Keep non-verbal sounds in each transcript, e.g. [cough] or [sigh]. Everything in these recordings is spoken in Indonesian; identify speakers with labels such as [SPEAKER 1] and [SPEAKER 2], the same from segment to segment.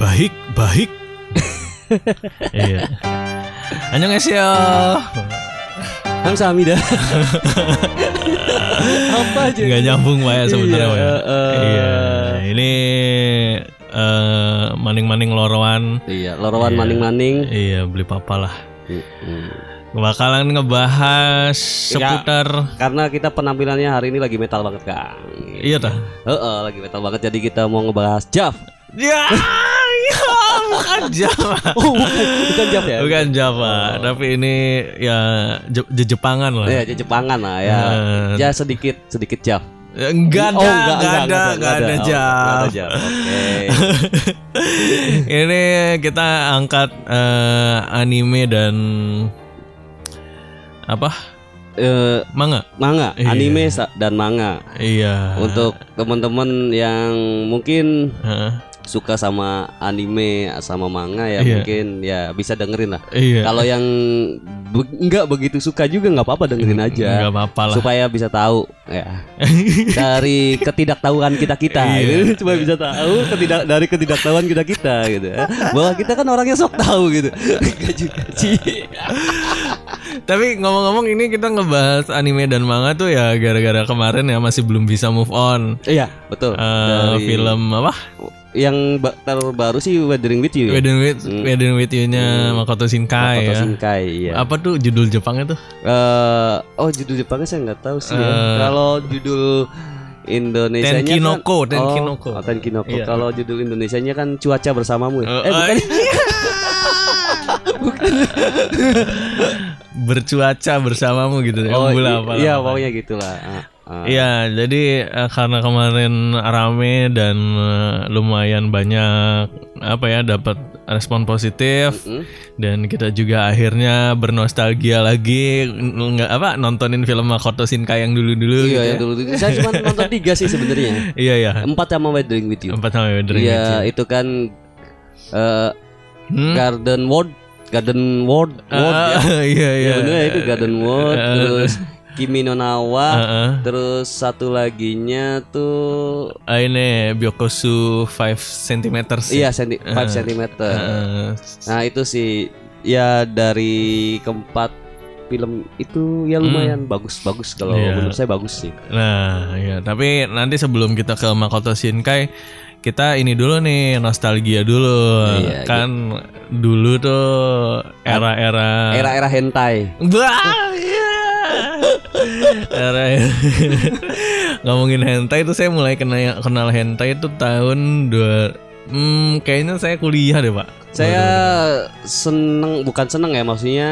[SPEAKER 1] Baik, baik.
[SPEAKER 2] [laughs]
[SPEAKER 3] iya. Annyeonghaseyo. [laughs]
[SPEAKER 2] Hamsahamnida. Apa aja?
[SPEAKER 3] Nggak nyambung Pak ya sebenarnya.
[SPEAKER 2] Iya,
[SPEAKER 3] Pak, ya.
[SPEAKER 2] eh,
[SPEAKER 3] Iya.
[SPEAKER 2] eh.
[SPEAKER 3] Ini eh, maning-maning loroan.
[SPEAKER 2] Iya, lorowan
[SPEAKER 3] Iya.
[SPEAKER 2] maning-maning.
[SPEAKER 3] Iya, beli papa lah.
[SPEAKER 2] Mm-mm.
[SPEAKER 3] Bakalan ngebahas
[SPEAKER 2] Iya.
[SPEAKER 3] seputar
[SPEAKER 2] Karena kita penampilannya hari ini lagi metal banget, Kang.
[SPEAKER 3] Iya tah.
[SPEAKER 2] Heeh, lagi metal banget jadi kita mau ngebahas Jav. [laughs]
[SPEAKER 3] Ya, ya, bukan Jawa.
[SPEAKER 2] Oh, bukan, bukan Jav ya.
[SPEAKER 3] Bukan Jawa, tapi ini ya Je- Je- Jepangan lah.
[SPEAKER 2] Iya, ya, Jepangan lah ya.
[SPEAKER 3] Eh.
[SPEAKER 2] Ya sedikit, sedikit Jav.
[SPEAKER 3] Ya, Enggak ada,
[SPEAKER 2] Oh,
[SPEAKER 3] enggak, ada, enggak ada,
[SPEAKER 2] Oh,
[SPEAKER 3] Jawa.
[SPEAKER 2] nggak ada Jav. Oke.
[SPEAKER 3] [laughs] ini kita angkat eh, anime dan apa?
[SPEAKER 2] Eh,
[SPEAKER 3] Manga.
[SPEAKER 2] manga,
[SPEAKER 3] Iya.
[SPEAKER 2] anime sa- dan manga.
[SPEAKER 3] Iya.
[SPEAKER 2] Untuk teman-teman yang mungkin
[SPEAKER 3] Heeh.
[SPEAKER 2] suka sama anime sama manga ya
[SPEAKER 3] Iya.
[SPEAKER 2] mungkin ya bisa dengerin lah.
[SPEAKER 3] iya.
[SPEAKER 2] Kalau yang be- nggak begitu suka juga nggak apa-apa dengerin aja
[SPEAKER 3] Enggak apa-apa lah.
[SPEAKER 2] supaya bisa tahu
[SPEAKER 3] [laughs]
[SPEAKER 2] ya dari ketidaktahuan kita kita
[SPEAKER 3] Iya.
[SPEAKER 2] cuma bisa tahu ketidak dari ketidaktahuan kita kita gitu ya. bahwa kita kan orangnya sok tahu gitu gaji gaji
[SPEAKER 3] Tapi ngomong-ngomong ini kita ngebahas anime dan manga tuh ya gara-gara kemarin ya masih belum bisa move on.
[SPEAKER 2] iya betul
[SPEAKER 3] Eh, film apa?
[SPEAKER 2] yang ba- terbaru sih Weathering with You ya?
[SPEAKER 3] Wedding with Wedding with You-nya Makoto Shinkai
[SPEAKER 2] Hmm. Makoto
[SPEAKER 3] ya.
[SPEAKER 2] Shinkai ya.
[SPEAKER 3] Apa tuh judul Jepangnya tuh?
[SPEAKER 2] Eh, oh judul Jepangnya saya nggak tahu sih.
[SPEAKER 3] Eh.
[SPEAKER 2] ya. Kalau judul Indonesia
[SPEAKER 3] Tenkinoko,
[SPEAKER 2] kan,
[SPEAKER 3] Tenkinoko.
[SPEAKER 2] Oh, oh, Tenkinoko.
[SPEAKER 3] Iya.
[SPEAKER 2] Kalau judul Indonesianya kan cuaca bersamamu. Ya?
[SPEAKER 3] Eh,
[SPEAKER 2] eh bukan.
[SPEAKER 3] Bercuaca bersamamu gitu. ya,
[SPEAKER 2] Oh,
[SPEAKER 3] Embula
[SPEAKER 2] i-
[SPEAKER 3] apa
[SPEAKER 2] iya
[SPEAKER 3] apa.
[SPEAKER 2] pokoknya gitulah. Ah, ah.
[SPEAKER 3] Iya, jadi eh, karena kemarin rame dan eh, lumayan banyak apa ya dapat respon positif
[SPEAKER 2] Mm-mm.
[SPEAKER 3] dan kita juga akhirnya bernostalgia lagi n- nggak apa nontonin film Makoto Shinkai yang dulu-dulu
[SPEAKER 2] Iya
[SPEAKER 3] gitu ya.
[SPEAKER 2] yang dulu dulu. Saya cuma nonton tiga sih sebenarnya.
[SPEAKER 3] [laughs] Iya ya.
[SPEAKER 2] Empat sama Weathering with You.
[SPEAKER 3] Empat sama Weathering with You.
[SPEAKER 2] Iya itu kan eh,
[SPEAKER 3] Hmm?
[SPEAKER 2] Garden World, Garden World, World ya.
[SPEAKER 3] Ah, [laughs] iya iya. Ah.
[SPEAKER 2] Ya, bener ya, itu Garden World,
[SPEAKER 3] Eh.
[SPEAKER 2] terus Kimi no Nawa,
[SPEAKER 3] Heeh.
[SPEAKER 2] terus satu laginya tuh
[SPEAKER 3] Ah, ini Byokosu 5 cm.
[SPEAKER 2] Iya, senti 5
[SPEAKER 3] Eh.
[SPEAKER 2] cm. Nah, itu sih ya dari keempat film itu ya lumayan bagus-bagus kalau
[SPEAKER 3] Hmm. Iya.
[SPEAKER 2] menurut saya bagus sih.
[SPEAKER 3] Nah, ya, tapi nanti sebelum kita ke Makoto Shinkai, kita ini dulu nih nostalgia dulu.
[SPEAKER 2] Iya,
[SPEAKER 3] kan dulu tuh era-era
[SPEAKER 2] Era-era hentai.
[SPEAKER 3] Bah! [laughs] era ngomongin hentai itu saya mulai kenal kenal hentai itu tahun dua hmm, kayaknya saya kuliah deh, Pak.
[SPEAKER 2] Saya seneng bukan seneng ya maksudnya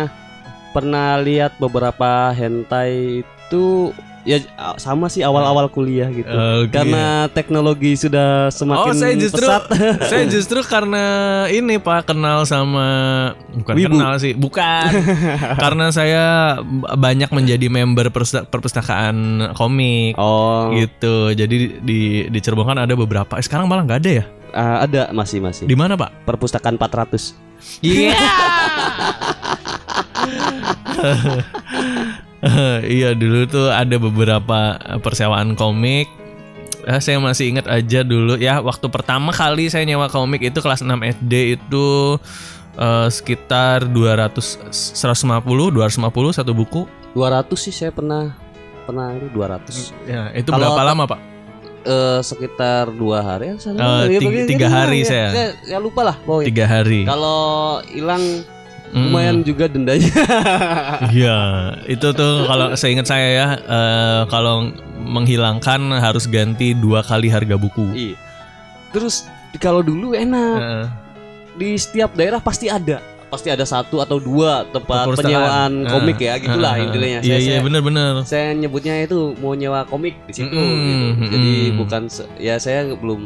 [SPEAKER 2] pernah lihat beberapa hentai itu ya a- sama sih awal-awal kuliah gitu.
[SPEAKER 3] Eh, oke.
[SPEAKER 2] Karena teknologi sudah
[SPEAKER 3] Oh,
[SPEAKER 2] semakin
[SPEAKER 3] saya justru
[SPEAKER 2] pesat.
[SPEAKER 3] [laughs] saya justru karena ini Pak kenal sama bukan
[SPEAKER 2] Wibu.
[SPEAKER 3] kenal sih,
[SPEAKER 2] [laughs]
[SPEAKER 3] bukan. karena saya b- banyak menjadi member persta- perpustakaan komik
[SPEAKER 2] Oh,
[SPEAKER 3] gitu. Jadi di di Cirebon kan ada beberapa. Eh, sekarang malah nggak ada ya?
[SPEAKER 2] ah, ada masih masih.
[SPEAKER 3] Di mana, Pak?
[SPEAKER 2] Perpustakaan 400.
[SPEAKER 3] Iya. [laughs] iya dulu tuh ada beberapa eh, persewaan komik. Ah, saya masih ingat aja dulu ya waktu pertama kali saya nyewa komik itu kelas 6 SD itu eh, sekitar 200 150 250 satu buku.
[SPEAKER 2] 200 sih saya pernah pernah itu 200
[SPEAKER 3] Ya, itu
[SPEAKER 2] Kalau
[SPEAKER 3] berapa
[SPEAKER 2] tak-
[SPEAKER 3] lama, Pak?
[SPEAKER 2] Eh, sekitar dua hari ya saya
[SPEAKER 3] Eh,
[SPEAKER 2] lupa. Ya,
[SPEAKER 3] tiga-
[SPEAKER 2] pokoknya
[SPEAKER 3] tiga
[SPEAKER 2] gitu
[SPEAKER 3] hari
[SPEAKER 2] lah, ya.
[SPEAKER 3] saya.
[SPEAKER 2] saya ya lupa lah pokoknya.
[SPEAKER 3] Tiga hari.
[SPEAKER 2] kalau hilang
[SPEAKER 3] Mm.
[SPEAKER 2] lumayan juga dendanya [laughs]
[SPEAKER 3] Iya, itu tuh kalau seingat saya ya, eh, kalau menghilangkan harus ganti dua kali harga buku.
[SPEAKER 2] Iya. terus kalau dulu enak
[SPEAKER 3] Heeh.
[SPEAKER 2] di setiap daerah pasti ada pasti ada satu atau dua tempat
[SPEAKER 3] Perpustakaan.
[SPEAKER 2] penyewaan komik ya gitulah
[SPEAKER 3] Heeh.
[SPEAKER 2] intinya ya.
[SPEAKER 3] Iya
[SPEAKER 2] saya,
[SPEAKER 3] iya
[SPEAKER 2] saya,
[SPEAKER 3] benar-benar.
[SPEAKER 2] saya nyebutnya itu mau nyewa komik di situ
[SPEAKER 3] Mm-mm,
[SPEAKER 2] gitu. jadi
[SPEAKER 3] mm-mm.
[SPEAKER 2] bukan se- ya saya belum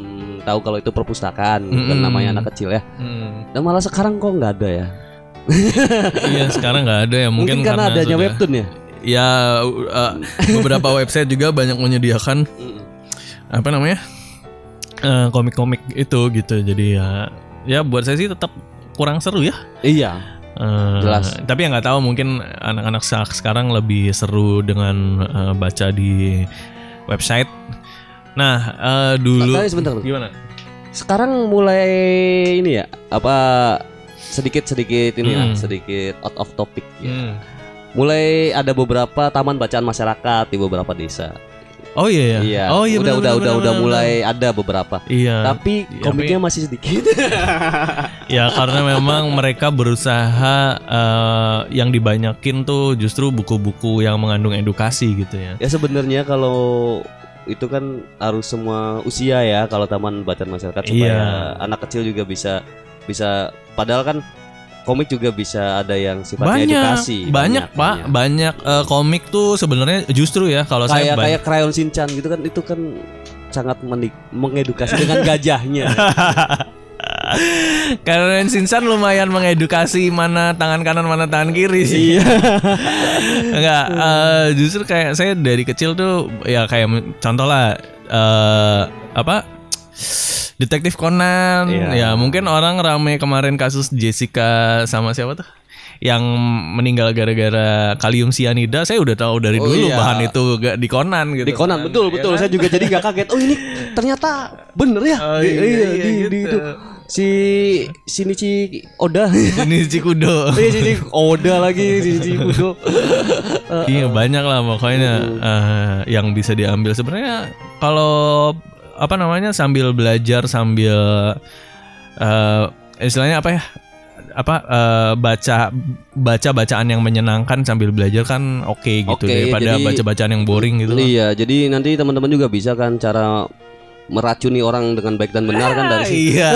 [SPEAKER 2] tahu kalau itu perpustakaan bukan
[SPEAKER 3] Mm-mm.
[SPEAKER 2] namanya anak kecil ya
[SPEAKER 3] Hmm.
[SPEAKER 2] dan malah sekarang kok nggak ada ya
[SPEAKER 3] Iya sekarang nggak ada ya
[SPEAKER 2] mungkin,
[SPEAKER 3] mungkin,
[SPEAKER 2] karena, adanya
[SPEAKER 3] sudah-
[SPEAKER 2] webtoon ya
[SPEAKER 3] Ya eh,
[SPEAKER 2] [laughs]
[SPEAKER 3] beberapa website juga banyak menyediakan apa namanya eh, komik-komik itu gitu. Jadi ya ya buat saya sih tetap kurang seru ya.
[SPEAKER 2] Iya,
[SPEAKER 3] Eh,
[SPEAKER 2] Jelas.
[SPEAKER 3] Tapi yang nggak tahu mungkin anak-anak sa- sekarang lebih seru dengan eh, baca di website. Nah eh, dulu
[SPEAKER 2] tapi sebentar.
[SPEAKER 3] gimana?
[SPEAKER 2] sekarang mulai ini ya apa sedikit sedikit ini lah,
[SPEAKER 3] Hmm.
[SPEAKER 2] sedikit out of topic ya.
[SPEAKER 3] Hmm.
[SPEAKER 2] Mulai ada beberapa taman bacaan masyarakat di beberapa desa.
[SPEAKER 3] Oh iya ya. Oh iya
[SPEAKER 2] udah
[SPEAKER 3] benar, benar,
[SPEAKER 2] udah udah
[SPEAKER 3] benar,
[SPEAKER 2] udah
[SPEAKER 3] benar.
[SPEAKER 2] mulai ada beberapa.
[SPEAKER 3] Iya.
[SPEAKER 2] Tapi
[SPEAKER 3] tapi-
[SPEAKER 2] komiknya masih sedikit. [laughs]
[SPEAKER 3] Ya karena memang mereka berusaha eh, yang dibanyakin tuh justru buku-buku yang mengandung edukasi gitu ya.
[SPEAKER 2] ya sebenarnya kalau itu kan harus semua usia ya kalau taman bacaan masyarakat supaya
[SPEAKER 3] Iya.
[SPEAKER 2] anak kecil juga bisa bisa padahal kan komik juga bisa ada yang sifatnya edukasi.
[SPEAKER 3] banyak, Pak,
[SPEAKER 2] banyak. iya.
[SPEAKER 3] banyak Eh, komik tuh sebenarnya justru ya kalau saya
[SPEAKER 2] Kayak
[SPEAKER 3] ban-
[SPEAKER 2] kayak krayon Shinchan gitu kan itu kan sangat menik- mengedukasi dengan
[SPEAKER 3] [laughs]
[SPEAKER 2] gajahnya.
[SPEAKER 3] [laughs] Karen Sinsan lumayan mengedukasi mana tangan kanan mana tangan kiri sih.
[SPEAKER 2] Iya.
[SPEAKER 3] Enggak, eh, justru kayak saya dari kecil tuh ya kayak men- contoh lah eh, apa? Detektif Conan.
[SPEAKER 2] Iya.
[SPEAKER 3] Ya, mungkin orang rame kemarin kasus Jessica sama siapa tuh? yang meninggal gara-gara kalium sianida saya udah tahu dari
[SPEAKER 2] Oh,
[SPEAKER 3] dulu
[SPEAKER 2] iya.
[SPEAKER 3] bahan itu gak di Conan gitu
[SPEAKER 2] Di Conan
[SPEAKER 3] kan.
[SPEAKER 2] betul
[SPEAKER 3] Iya
[SPEAKER 2] betul
[SPEAKER 3] kan?
[SPEAKER 2] saya juga jadi nggak kaget. Oh ini ternyata bener ya.
[SPEAKER 3] Oh,
[SPEAKER 2] Di-
[SPEAKER 3] iya,
[SPEAKER 2] iya,
[SPEAKER 3] iya,
[SPEAKER 2] di, di
[SPEAKER 3] gitu.
[SPEAKER 2] itu si Shinichi
[SPEAKER 3] [laughs]
[SPEAKER 2] Oda.
[SPEAKER 3] ini
[SPEAKER 2] [laughs]
[SPEAKER 3] Cikudo
[SPEAKER 2] Iya Shinichi Oda lagi Shinichi Kudo.
[SPEAKER 3] Iya banyak lah pokoknya
[SPEAKER 2] Iya.
[SPEAKER 3] eh, yang bisa diambil sebenarnya kalau apa namanya sambil belajar sambil eh, istilahnya apa ya apa eh, baca baca bacaan yang menyenangkan sambil belajar kan oke gitu
[SPEAKER 2] Oke,
[SPEAKER 3] daripada
[SPEAKER 2] jadi-
[SPEAKER 3] baca bacaan yang boring gitu loh.
[SPEAKER 2] Iya, jadi nanti teman-teman juga bisa kan cara meracuni orang dengan baik dan benar kan
[SPEAKER 3] [laughs]
[SPEAKER 2] dari situ. [laughs]
[SPEAKER 3] Iya.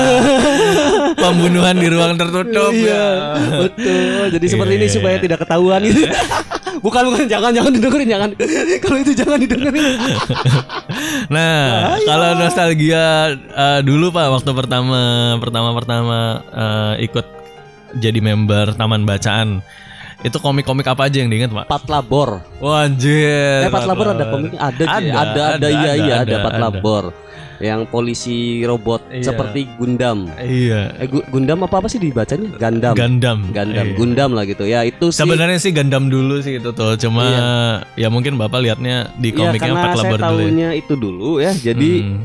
[SPEAKER 3] Pembunuhan di ruang tertutup.
[SPEAKER 2] Iya, betul. Jadi seperti ini
[SPEAKER 3] ya. Iya.
[SPEAKER 2] supaya tidak ketahuan gitu. [laughs] bukan bukan jangan jangan didengerin jangan. [laughs] Kalau itu jangan didengerin.
[SPEAKER 3] Nah, kalau nostalgia eh, dulu Pak waktu pertama pertama pertama eh, ikut jadi member Taman Bacaan. Itu komik-komik apa aja yang diingat, Pak?
[SPEAKER 2] Patlabor.
[SPEAKER 3] Wah, anjir.
[SPEAKER 2] Eh, Pat Labor ada komiknya ada ada,
[SPEAKER 3] Ada,
[SPEAKER 2] ada, ada,
[SPEAKER 3] ada,
[SPEAKER 2] iya
[SPEAKER 3] ada,
[SPEAKER 2] iya
[SPEAKER 3] ada,
[SPEAKER 2] ada, Pat
[SPEAKER 3] ada.
[SPEAKER 2] Labor. Yang polisi robot
[SPEAKER 3] Iya.
[SPEAKER 2] seperti Gundam.
[SPEAKER 3] Iya.
[SPEAKER 2] Eh Gu- Gundam apa apa sih dibacanya? Gundam.
[SPEAKER 3] Gundam.
[SPEAKER 2] Gundam,
[SPEAKER 3] Iya.
[SPEAKER 2] Gundam lah gitu. Ya itu sih.
[SPEAKER 3] Sebenarnya sih Gundam dulu sih itu tuh, cuma ya mungkin Bapak lihatnya di
[SPEAKER 2] Iya,
[SPEAKER 3] komiknya
[SPEAKER 2] karena
[SPEAKER 3] Pat
[SPEAKER 2] saya
[SPEAKER 3] Labor dulu. ya.
[SPEAKER 2] tahunya itu dulu ya. Jadi
[SPEAKER 3] Hmm.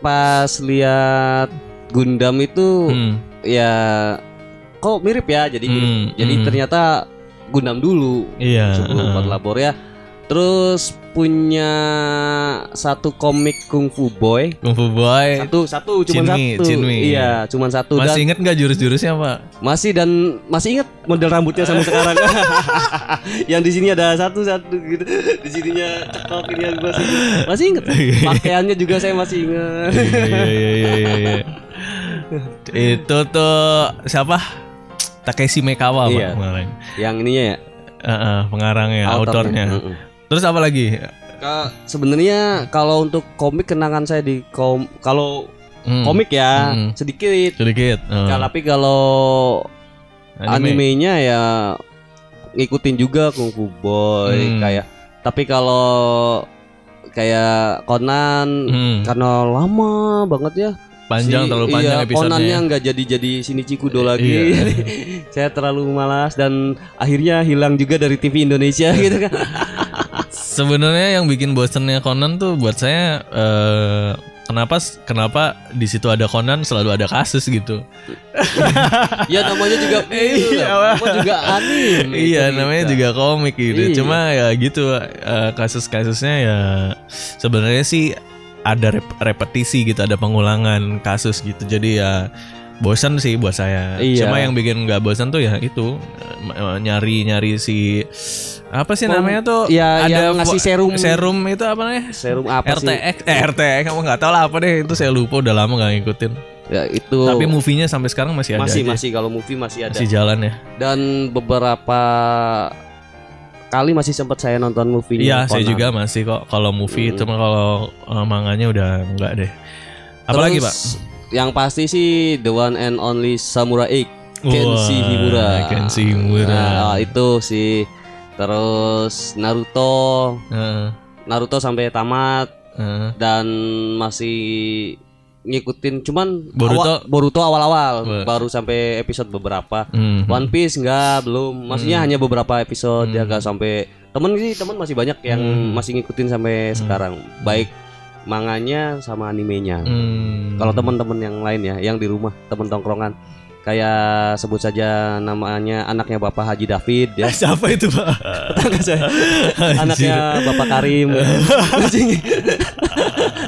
[SPEAKER 2] pas lihat Gundam itu
[SPEAKER 3] Hmm.
[SPEAKER 2] ya kok mirip ya. Jadi mirip.
[SPEAKER 3] Hmm.
[SPEAKER 2] jadi
[SPEAKER 3] Hmm.
[SPEAKER 2] ternyata Gundam dulu
[SPEAKER 3] Iya.
[SPEAKER 2] sebelum Pat Labor ya. Terus punya satu komik kungfu boy
[SPEAKER 3] Kung Fu Boy.
[SPEAKER 2] satu satu cuman
[SPEAKER 3] Chinwi,
[SPEAKER 2] satu
[SPEAKER 3] Chinwi.
[SPEAKER 2] iya cuman satu dan
[SPEAKER 3] Masih inget nggak jurus-jurusnya, Pak?
[SPEAKER 2] masih dan masih ingat model rambutnya sampai
[SPEAKER 3] [laughs]
[SPEAKER 2] sekarang [laughs] yang di sini ada satu satu gitu di sininya cekok ini yang masih ingat. masih
[SPEAKER 3] [laughs]
[SPEAKER 2] ingat pakaiannya juga saya masih ingat
[SPEAKER 3] Iya, iya, iya, iya, iya. Itu tuh siapa? Takeshi Mekawa Pak,
[SPEAKER 2] Iya.
[SPEAKER 3] kemarin.
[SPEAKER 2] yang ininya ya
[SPEAKER 3] Heeh, pengarangnya, autornya.
[SPEAKER 2] autornya. Hmm. Mm-mm.
[SPEAKER 3] Terus apa lagi?
[SPEAKER 2] Ka- sebenarnya kalau untuk komik kenangan saya di kom kalau
[SPEAKER 3] Hmm,
[SPEAKER 2] komik ya
[SPEAKER 3] Mm.
[SPEAKER 2] sedikit
[SPEAKER 3] sedikit. eh,
[SPEAKER 2] Kalau- tapi kalau animenya ya ngikutin juga Kung Fu Boy
[SPEAKER 3] Hmm.
[SPEAKER 2] kayak tapi kalau kayak Conan
[SPEAKER 3] Hmm,
[SPEAKER 2] karena lama banget ya
[SPEAKER 3] panjang
[SPEAKER 2] si-
[SPEAKER 3] terlalu
[SPEAKER 2] iya,
[SPEAKER 3] panjang
[SPEAKER 2] Conannya
[SPEAKER 3] episodenya. ya.
[SPEAKER 2] nggak jadi jadi Shinichi Kudo lagi
[SPEAKER 3] Iya.
[SPEAKER 2] [laughs] saya terlalu malas dan akhirnya hilang juga dari TV Indonesia [laughs] gitu kan
[SPEAKER 3] Sebenarnya yang bikin bosennya Conan tuh buat saya eh, kenapa kenapa di situ ada Conan selalu ada kasus gitu.
[SPEAKER 2] ya namanya juga
[SPEAKER 3] [laughs] Iya,
[SPEAKER 2] namanya juga anime
[SPEAKER 3] Iya
[SPEAKER 2] cerita.
[SPEAKER 3] namanya juga komik gitu.
[SPEAKER 2] Hmm, Iya.
[SPEAKER 3] Cuma ya gitu eh, kasus-kasusnya ya sebenarnya sih ada rep- repetisi gitu, ada pengulangan kasus gitu. Jadi ya bosan sih buat saya.
[SPEAKER 2] Iya.
[SPEAKER 3] Cuma yang bikin nggak bosan tuh ya itu eh, nyari-nyari si apa sih
[SPEAKER 2] Pem-
[SPEAKER 3] namanya tuh
[SPEAKER 2] ya
[SPEAKER 3] ada
[SPEAKER 2] yang ngasih serum
[SPEAKER 3] serum itu apa namanya?
[SPEAKER 2] serum apa sih
[SPEAKER 3] RTX, eh, RTX, kamu nggak tahu lah apa deh itu saya lupa udah lama nggak ngikutin.
[SPEAKER 2] ya itu
[SPEAKER 3] Tapi movie-nya sampai sekarang masih ada,
[SPEAKER 2] masih
[SPEAKER 3] aja.
[SPEAKER 2] masih kalau movie masih ada
[SPEAKER 3] masih jalan ya.
[SPEAKER 2] dan beberapa kali masih sempat saya nonton movie-nya.
[SPEAKER 3] Iya, saya
[SPEAKER 2] Conan.
[SPEAKER 3] juga masih kok kalau movie,
[SPEAKER 2] Hmm.
[SPEAKER 3] cuma kalau eh, manganya udah enggak deh. Apalagi,
[SPEAKER 2] Terus,
[SPEAKER 3] Pak?
[SPEAKER 2] Yang pasti sih the one and only Samurai X Kenshi
[SPEAKER 3] Wah,
[SPEAKER 2] Himura.
[SPEAKER 3] Kenshi Himura.
[SPEAKER 2] Nah, itu sih. Terus Naruto,
[SPEAKER 3] Heeh,
[SPEAKER 2] Naruto sampai tamat
[SPEAKER 3] heeh.
[SPEAKER 2] dan masih ngikutin cuman
[SPEAKER 3] Boruto?
[SPEAKER 2] awa- Boruto awal-awal
[SPEAKER 3] Wah.
[SPEAKER 2] baru sampai episode beberapa.
[SPEAKER 3] Hmm.
[SPEAKER 2] One Piece enggak, belum. Maksudnya hanya beberapa episode ya
[SPEAKER 3] Hmm.
[SPEAKER 2] enggak sampai temen sih temen masih banyak yang
[SPEAKER 3] Hmm.
[SPEAKER 2] masih ngikutin sampai sekarang. Baik manganya sama animenya.
[SPEAKER 3] Hmm.
[SPEAKER 2] Kalau teman-teman yang lain ya, yang di rumah, teman tongkrongan kayak sebut saja namanya anaknya Bapak Haji David ya.
[SPEAKER 3] [laughs] siapa itu pak?
[SPEAKER 2] Tetangga saya.
[SPEAKER 3] [laughs] Anjir.
[SPEAKER 2] anaknya Bapak Karim masih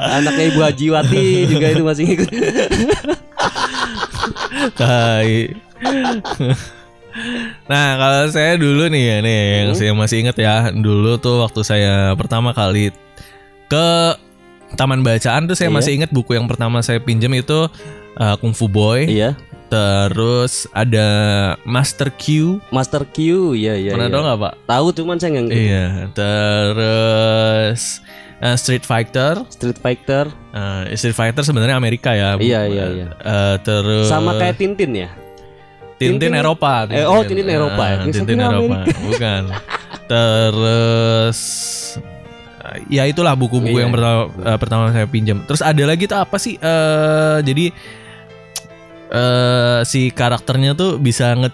[SPEAKER 2] anaknya Ibu Haji Wati juga itu masih ikut
[SPEAKER 3] Tai. [laughs] nah kalau saya dulu nih ya nih yang
[SPEAKER 2] Hmm.
[SPEAKER 3] saya masih ingat ya dulu tuh waktu saya pertama kali ke taman bacaan tuh saya
[SPEAKER 2] Iya.
[SPEAKER 3] masih ingat buku yang pertama saya pinjam itu uh, Kung Fu Boy
[SPEAKER 2] iya
[SPEAKER 3] terus ada Master Q
[SPEAKER 2] Master Q iya iya
[SPEAKER 3] pernah
[SPEAKER 2] iya.
[SPEAKER 3] tau nggak pak?
[SPEAKER 2] tahu cuman saya nggak ngikutin.
[SPEAKER 3] Iya terus uh, Street Fighter
[SPEAKER 2] Street Fighter
[SPEAKER 3] Uh, Street Fighter sebenarnya Amerika ya
[SPEAKER 2] Iya, iya, iya.
[SPEAKER 3] Uh, terus
[SPEAKER 2] sama kayak Tintin ya
[SPEAKER 3] Tintin,
[SPEAKER 2] Tintin-
[SPEAKER 3] Eropa.
[SPEAKER 2] Eh, oh, Tintin Eropa ya.
[SPEAKER 3] Ah,
[SPEAKER 2] Saya
[SPEAKER 3] Tintin
[SPEAKER 2] kira
[SPEAKER 3] Eropa, bukan. Terus ya itulah buku-buku
[SPEAKER 2] Iya.
[SPEAKER 3] yang pertama, eh, pertama saya pinjam. Terus ada lagi tuh apa sih? eh jadi eh si karakternya tuh bisa nge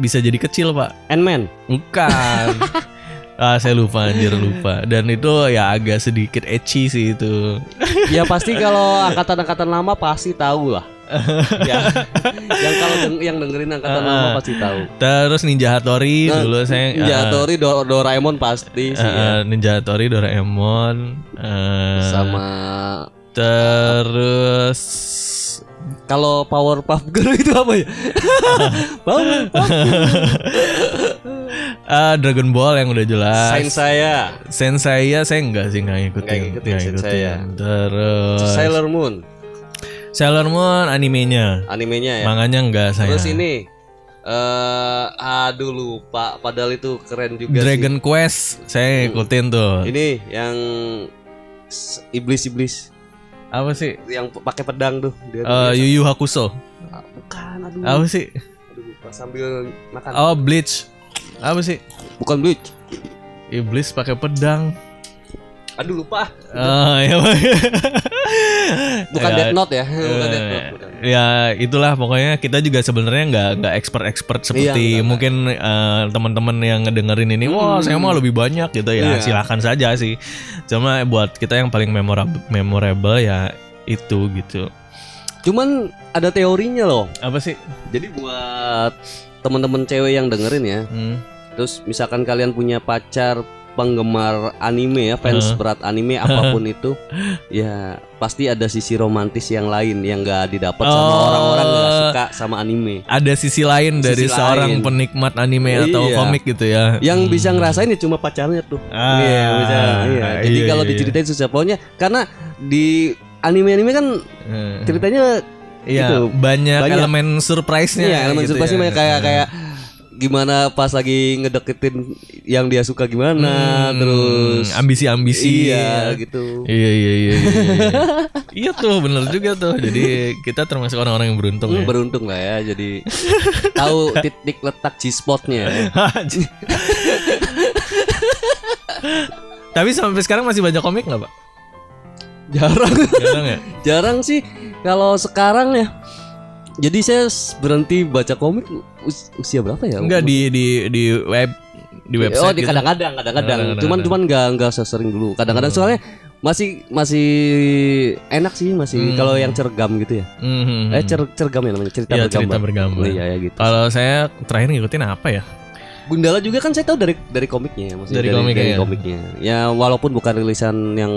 [SPEAKER 3] bisa jadi kecil pak?
[SPEAKER 2] Ant-Man
[SPEAKER 3] Bukan. [laughs] ah saya lupa anjir lupa. Dan itu ya agak sedikit ecchi sih itu.
[SPEAKER 2] ya pasti kalau angkatan-angkatan lama pasti tahu lah
[SPEAKER 3] [laughs]
[SPEAKER 2] ya yang kalau deng- yang dengerin angkatan lama pasti tahu
[SPEAKER 3] Terus Ninja Hattori Eh.
[SPEAKER 2] Nah,
[SPEAKER 3] dulu saya. ah,
[SPEAKER 2] Ninja Hattori, Do- Doraemon pasti sih
[SPEAKER 3] eh,
[SPEAKER 2] ya.
[SPEAKER 3] Ninja Hattori, Doraemon, eh,
[SPEAKER 2] sama
[SPEAKER 3] terus
[SPEAKER 2] kalau Powerpuff Girl itu apa
[SPEAKER 3] [laughs]
[SPEAKER 2] ya Powerpuff
[SPEAKER 3] eh, Dragon Ball yang udah jelas.
[SPEAKER 2] Sains saya
[SPEAKER 3] Sensei ya saya enggak sih enggak ngikutin.
[SPEAKER 2] Nggak ngikutin
[SPEAKER 3] nggak
[SPEAKER 2] Sensei ya.
[SPEAKER 3] Terus
[SPEAKER 2] Sailor Moon
[SPEAKER 3] Sailor Moon animenya.
[SPEAKER 2] animenya ya.
[SPEAKER 3] Manganya enggak saya.
[SPEAKER 2] Terus ini eh aduh lupa padahal itu keren juga
[SPEAKER 3] Dragon Quest
[SPEAKER 2] Hmm.
[SPEAKER 3] saya ngikutin tuh.
[SPEAKER 2] sih. Ini yang s- iblis-iblis
[SPEAKER 3] Apa sih?
[SPEAKER 2] yang p- pakai pedang tuh dia. tuh
[SPEAKER 3] Eh,
[SPEAKER 2] biasa.
[SPEAKER 3] Yu Yu Hakusho.
[SPEAKER 2] Ah, bukan aduh.
[SPEAKER 3] Apa sih?
[SPEAKER 2] Aduh, lupa sambil makan.
[SPEAKER 3] Oh, Bleach. Apa sih?
[SPEAKER 2] Bukan Bleach.
[SPEAKER 3] Iblis pakai pedang.
[SPEAKER 2] Aduh lupa. ah.
[SPEAKER 3] Eh, ya.
[SPEAKER 2] Bukan
[SPEAKER 3] Ya,
[SPEAKER 2] Death Note ya. Bukan Death Note.
[SPEAKER 3] Eh,
[SPEAKER 2] bukan.
[SPEAKER 3] ya itulah pokoknya kita juga sebenarnya nggak nggak expert expert seperti
[SPEAKER 2] Iya, nggak, Hmm.
[SPEAKER 3] mungkin eh, teman-teman yang ngedengerin ini wah saya mau lebih banyak gitu ya
[SPEAKER 2] Iya.
[SPEAKER 3] silahkan saja sih cuma buat kita yang paling memorable memorable ya itu gitu
[SPEAKER 2] Cuman ada teorinya loh.
[SPEAKER 3] apa sih
[SPEAKER 2] Jadi buat teman-teman cewek yang dengerin ya.
[SPEAKER 3] Hmm.
[SPEAKER 2] Terus misalkan kalian punya pacar penggemar anime ya, fans
[SPEAKER 3] Heeh.
[SPEAKER 2] berat anime
[SPEAKER 3] [laughs]
[SPEAKER 2] apapun itu, ya pasti ada sisi romantis yang lain yang gak didapat sama
[SPEAKER 3] Oh.
[SPEAKER 2] orang-orang yang gak suka sama anime.
[SPEAKER 3] ada sisi lain
[SPEAKER 2] Sisi
[SPEAKER 3] dari seorang
[SPEAKER 2] lain.
[SPEAKER 3] penikmat anime atau
[SPEAKER 2] Iya.
[SPEAKER 3] komik gitu ya
[SPEAKER 2] Yang
[SPEAKER 3] Hmm.
[SPEAKER 2] bisa ngerasain ya cuma pacarnya tuh.
[SPEAKER 3] Ah,
[SPEAKER 2] iya, bisa. Iya. Jadi
[SPEAKER 3] iya,
[SPEAKER 2] kalau
[SPEAKER 3] iya.
[SPEAKER 2] diceritain susah pokoknya karena di anime-anime kan
[SPEAKER 3] Eh,
[SPEAKER 2] ceritanya
[SPEAKER 3] iya,
[SPEAKER 2] gitu,
[SPEAKER 3] banyak,
[SPEAKER 2] banyak.
[SPEAKER 3] elemen surprise-nya
[SPEAKER 2] iya, elemen
[SPEAKER 3] gitu
[SPEAKER 2] surprise-nya
[SPEAKER 3] ya.
[SPEAKER 2] banyak kayak kayak gimana pas lagi ngedeketin yang dia suka gimana
[SPEAKER 3] Hmm,
[SPEAKER 2] ah, terus
[SPEAKER 3] ambisi-ambisi
[SPEAKER 2] iya gitu.
[SPEAKER 3] Iya iya iya. Iya, iya. Iya tuh bener juga tuh. Jadi kita termasuk orang-orang yang beruntung ya.
[SPEAKER 2] Hmm, beruntung lah ya jadi tahu titik letak G spotnya
[SPEAKER 3] Anjing. [laughs] Tapi sampai sekarang masih baca komik nggak pak?
[SPEAKER 2] jarang
[SPEAKER 3] Jarang ya.
[SPEAKER 2] jarang sih kalau sekarang ya jadi saya s- berhenti baca komik us- usia berapa ya
[SPEAKER 3] Enggak di di di web di website.
[SPEAKER 2] oh di
[SPEAKER 3] gitu. nah,
[SPEAKER 2] kadang-kadang kadang-kadang
[SPEAKER 3] Kadang-kadang,
[SPEAKER 2] cuman
[SPEAKER 3] kadang-kadang.
[SPEAKER 2] cuman nggak nggak sesering dulu
[SPEAKER 3] Hmm.
[SPEAKER 2] kadang-kadang soalnya masih masih enak sih masih
[SPEAKER 3] Hmm.
[SPEAKER 2] kalau yang cergam gitu ya
[SPEAKER 3] Mhm.
[SPEAKER 2] eh cer cergam ya namanya cerita
[SPEAKER 3] Iya, cerita
[SPEAKER 2] bergambar
[SPEAKER 3] bergambar.
[SPEAKER 2] iya ya gitu
[SPEAKER 3] Kalau saya terakhir ngikutin apa ya?
[SPEAKER 2] Gundala juga kan saya tahu dari dari komiknya maksudnya
[SPEAKER 3] Dari komiknya, ya.
[SPEAKER 2] komiknya. Ya walaupun bukan rilisan yang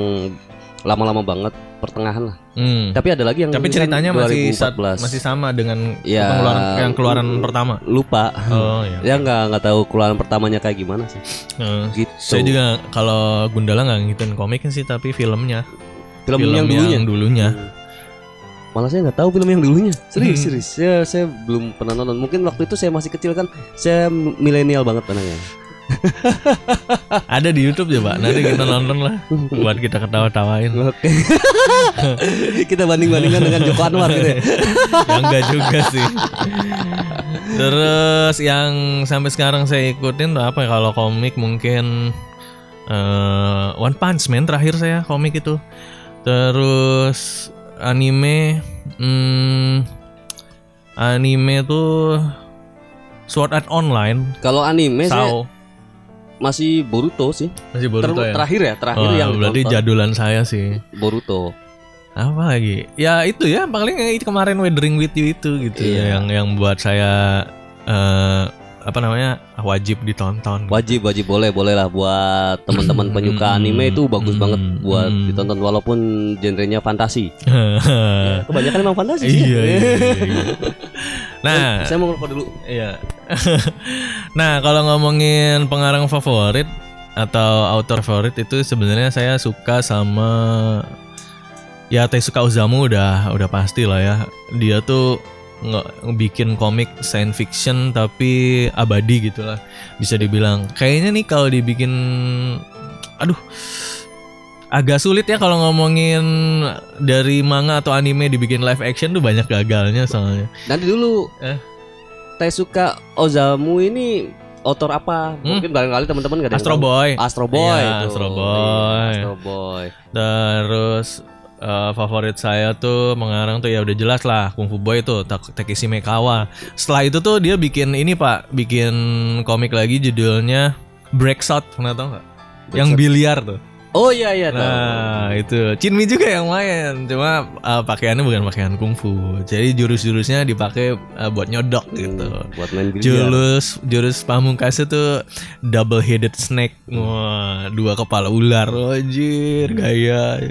[SPEAKER 2] lama-lama banget pertengahan lah.
[SPEAKER 3] Hmm.
[SPEAKER 2] Tapi ada lagi yang
[SPEAKER 3] Tapi
[SPEAKER 2] rilisan
[SPEAKER 3] ceritanya masih sa-
[SPEAKER 2] 2014.
[SPEAKER 3] masih sama dengan
[SPEAKER 2] Ya,
[SPEAKER 3] pengeluaran yang keluaran
[SPEAKER 2] mm,
[SPEAKER 3] pertama.
[SPEAKER 2] lupa.
[SPEAKER 3] Oh iya.
[SPEAKER 2] Ya nggak nggak tahu keluaran pertamanya kayak gimana sih.
[SPEAKER 3] Eh,
[SPEAKER 2] Gitu.
[SPEAKER 3] Saya juga kalau Gundala nggak ngikutin komiknya sih tapi filmnya.
[SPEAKER 2] film, yang dulunya. [laughs] Hmm.
[SPEAKER 3] dulunya.
[SPEAKER 2] Malah saya nggak tahu film yang dulunya.
[SPEAKER 3] Hmm.
[SPEAKER 2] Serius, serius. Saya, saya belum pernah nonton. Mungkin waktu itu saya masih kecil kan. Saya milenial banget anaknya.
[SPEAKER 3] Ada di YouTube ya pak. Nanti kita nonton
[SPEAKER 2] [laughs]
[SPEAKER 3] lah buat kita ketawa-tawain.
[SPEAKER 2] Oke. [laughs] Kita banding-bandingkan dengan Joko Anwar
[SPEAKER 3] [laughs]
[SPEAKER 2] gitu ya.
[SPEAKER 3] yang enggak juga sih. Terus yang sampai sekarang saya ikutin tuh apa ya kalau komik mungkin eh, One Punch Man terakhir saya komik itu. Terus anime hmm, anime tuh Sword Art Online,
[SPEAKER 2] Kalau anime saya
[SPEAKER 3] Sao.
[SPEAKER 2] masih Boruto sih.
[SPEAKER 3] Masih
[SPEAKER 2] Ter-
[SPEAKER 3] Boruto ya.
[SPEAKER 2] Terakhir ya, terakhir
[SPEAKER 3] Wah,
[SPEAKER 2] yang
[SPEAKER 3] berarti
[SPEAKER 2] ditonton.
[SPEAKER 3] jadulan saya sih.
[SPEAKER 2] Boruto.
[SPEAKER 3] Apa lagi? Ya itu ya paling yang itu kemarin Weathering with You itu gitu
[SPEAKER 2] Iya.
[SPEAKER 3] yang yang buat saya eh apa namanya? wajib ditonton.
[SPEAKER 2] Wajib wajib boleh boleh lah buat teman-teman penyuka
[SPEAKER 3] Hmm,
[SPEAKER 2] anime itu bagus
[SPEAKER 3] hmm,
[SPEAKER 2] banget buat
[SPEAKER 3] hmm.
[SPEAKER 2] ditonton walaupun genrenya fantasi.
[SPEAKER 3] [laughs] iya,
[SPEAKER 2] Ya, kebanyakan emang fantasi sih. Eh,
[SPEAKER 3] iya, iya, iya.
[SPEAKER 2] [laughs]
[SPEAKER 3] Nah,
[SPEAKER 2] Saya mau ngerokok dulu.
[SPEAKER 3] Iya. [laughs] nah, kalau ngomongin pengarang favorit atau author favorit itu sebenarnya saya suka sama ya Tezuka Ozamu udah udah pasti lah ya. Dia tuh nggak bikin komik science fiction tapi abadi gitu lah bisa dibilang kayaknya nih kalau dibikin aduh agak sulit ya kalau ngomongin dari manga atau anime dibikin live action tuh banyak gagalnya soalnya
[SPEAKER 2] Nanti dulu.
[SPEAKER 3] Eh.
[SPEAKER 2] Tezuka Ozamu ini otor apa?
[SPEAKER 3] Hmm.
[SPEAKER 2] Mungkin barangkali teman-teman gak ada yang
[SPEAKER 3] Astro
[SPEAKER 2] tahu.
[SPEAKER 3] Boy
[SPEAKER 2] Astro Boy
[SPEAKER 3] Iya,
[SPEAKER 2] tuh.
[SPEAKER 3] Astro
[SPEAKER 2] Iya,
[SPEAKER 3] Boy.
[SPEAKER 2] Astro Boy.
[SPEAKER 3] Terus eh, favorit saya tuh mengarang tuh ya udah jelas lah Kung Fu Boy tuh Tak- Takeshi Mekawa. Setelah itu tuh dia bikin ini Pak, bikin komik lagi judulnya Breakout, pernah tau nggak? Yang biliar tuh.
[SPEAKER 2] Oh iya iya tahu.
[SPEAKER 3] Nah, itu. Chinmi juga yang main, cuma eh, pakaiannya bukan pakaian kungfu. Jadi jurus-jurusnya dipakai eh, buat nyodok
[SPEAKER 2] Hmm,
[SPEAKER 3] gitu.
[SPEAKER 2] Buat main biliar.
[SPEAKER 3] Jurus jurus pamungkasnya tuh double headed snake. Wah, dua kepala ular. Anjir, gaya.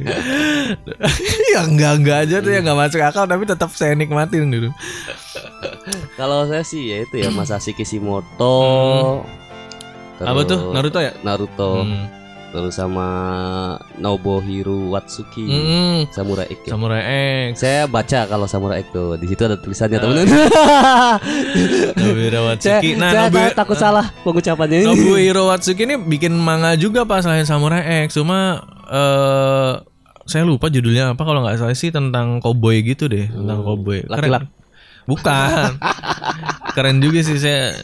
[SPEAKER 3] [laughs] ya enggak enggak aja tuh ya enggak masuk akal tapi tetap saya nikmatin gitu. dulu.
[SPEAKER 2] Kalau saya sih ya itu ya Masashi Kishimoto.
[SPEAKER 3] Hmm. Apa tuh? Naruto ya?
[SPEAKER 2] Naruto.
[SPEAKER 3] Hmm.
[SPEAKER 2] Terus sama Nobuhiro Watsuki.
[SPEAKER 3] Mm-mm.
[SPEAKER 2] Samurai X. ya.
[SPEAKER 3] Hmm, Samurai X.
[SPEAKER 2] Saya baca kalau Samurai X tuh di situ ada
[SPEAKER 3] Ah.
[SPEAKER 2] tulisannya
[SPEAKER 3] [laughs]
[SPEAKER 2] teman-teman. [laughs]
[SPEAKER 3] Nobuhiro
[SPEAKER 2] saya,
[SPEAKER 3] Watsuki. Nah,
[SPEAKER 2] saya
[SPEAKER 3] Nobu-
[SPEAKER 2] takut salah pengucapannya ini.
[SPEAKER 3] Nobuhiro Watsuki ini bikin manga juga pas selain Samurai X. Cuma eh saya lupa judulnya apa kalau nggak salah sih tentang cowboy gitu deh, tentang
[SPEAKER 2] Hmm,
[SPEAKER 3] cowboy. Keren.
[SPEAKER 2] laki-laki. [laughs]
[SPEAKER 3] Bukan. Keren juga sih saya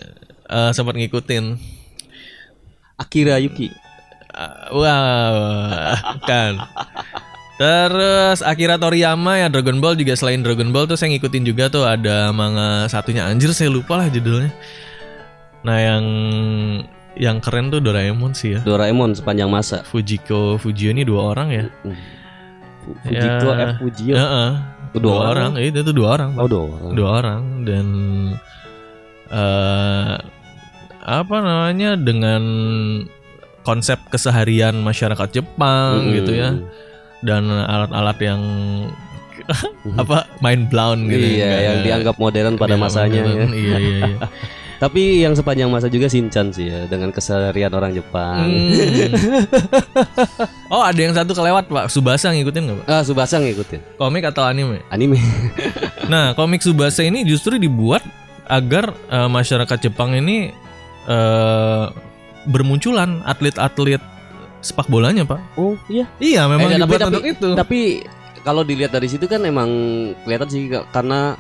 [SPEAKER 3] eh, sempat ngikutin.
[SPEAKER 2] [laughs] Akira Yuki.
[SPEAKER 3] Eh, Wah, kan. Terus Akira Toriyama ya Dragon Ball juga selain Dragon Ball tuh saya ngikutin juga tuh ada manga satunya anjir saya lupa lah judulnya. Nah, yang yang keren tuh Doraemon sih ya.
[SPEAKER 2] Doraemon sepanjang masa.
[SPEAKER 3] Fujiko Fujio ini dua orang ya?
[SPEAKER 2] Hmm. Fu- Fujiko
[SPEAKER 3] Ya.
[SPEAKER 2] F Fujio.
[SPEAKER 3] Heeh.
[SPEAKER 2] Iya. Dua
[SPEAKER 3] Dua, orang. Iya, itu dua orang. Pak.
[SPEAKER 2] Oh, dua orang.
[SPEAKER 3] Dua orang dan eh apa namanya dengan konsep keseharian masyarakat Jepang
[SPEAKER 2] Mm-mm.
[SPEAKER 3] gitu ya dan alat-alat yang [laughs] apa mind blown gitu
[SPEAKER 2] Iya,
[SPEAKER 3] Kayak-
[SPEAKER 2] yang dianggap modern pada
[SPEAKER 3] dianggap
[SPEAKER 2] masanya. ya.
[SPEAKER 3] modern. iya iya
[SPEAKER 2] [laughs]
[SPEAKER 3] iya
[SPEAKER 2] Tapi yang sepanjang masa juga Shinchan sih ya dengan keseharian orang Jepang.
[SPEAKER 3] Hmm. oh ada yang satu kelewat pak Subasa ngikutin nggak pak
[SPEAKER 2] Ah, Subasa ngikutin
[SPEAKER 3] komik atau anime
[SPEAKER 2] anime.
[SPEAKER 3] Nah, komik Tsubasa ini justru dibuat agar eh, masyarakat Jepang ini eh, bermunculan atlet-atlet sepak bolanya, Pak.
[SPEAKER 2] Oh, iya.
[SPEAKER 3] Iya, memang
[SPEAKER 2] Eh, tapi-
[SPEAKER 3] dibuat
[SPEAKER 2] tapi-
[SPEAKER 3] untuk itu.
[SPEAKER 2] Tapi kalau dilihat dari situ kan emang kelihatan sih ka- karena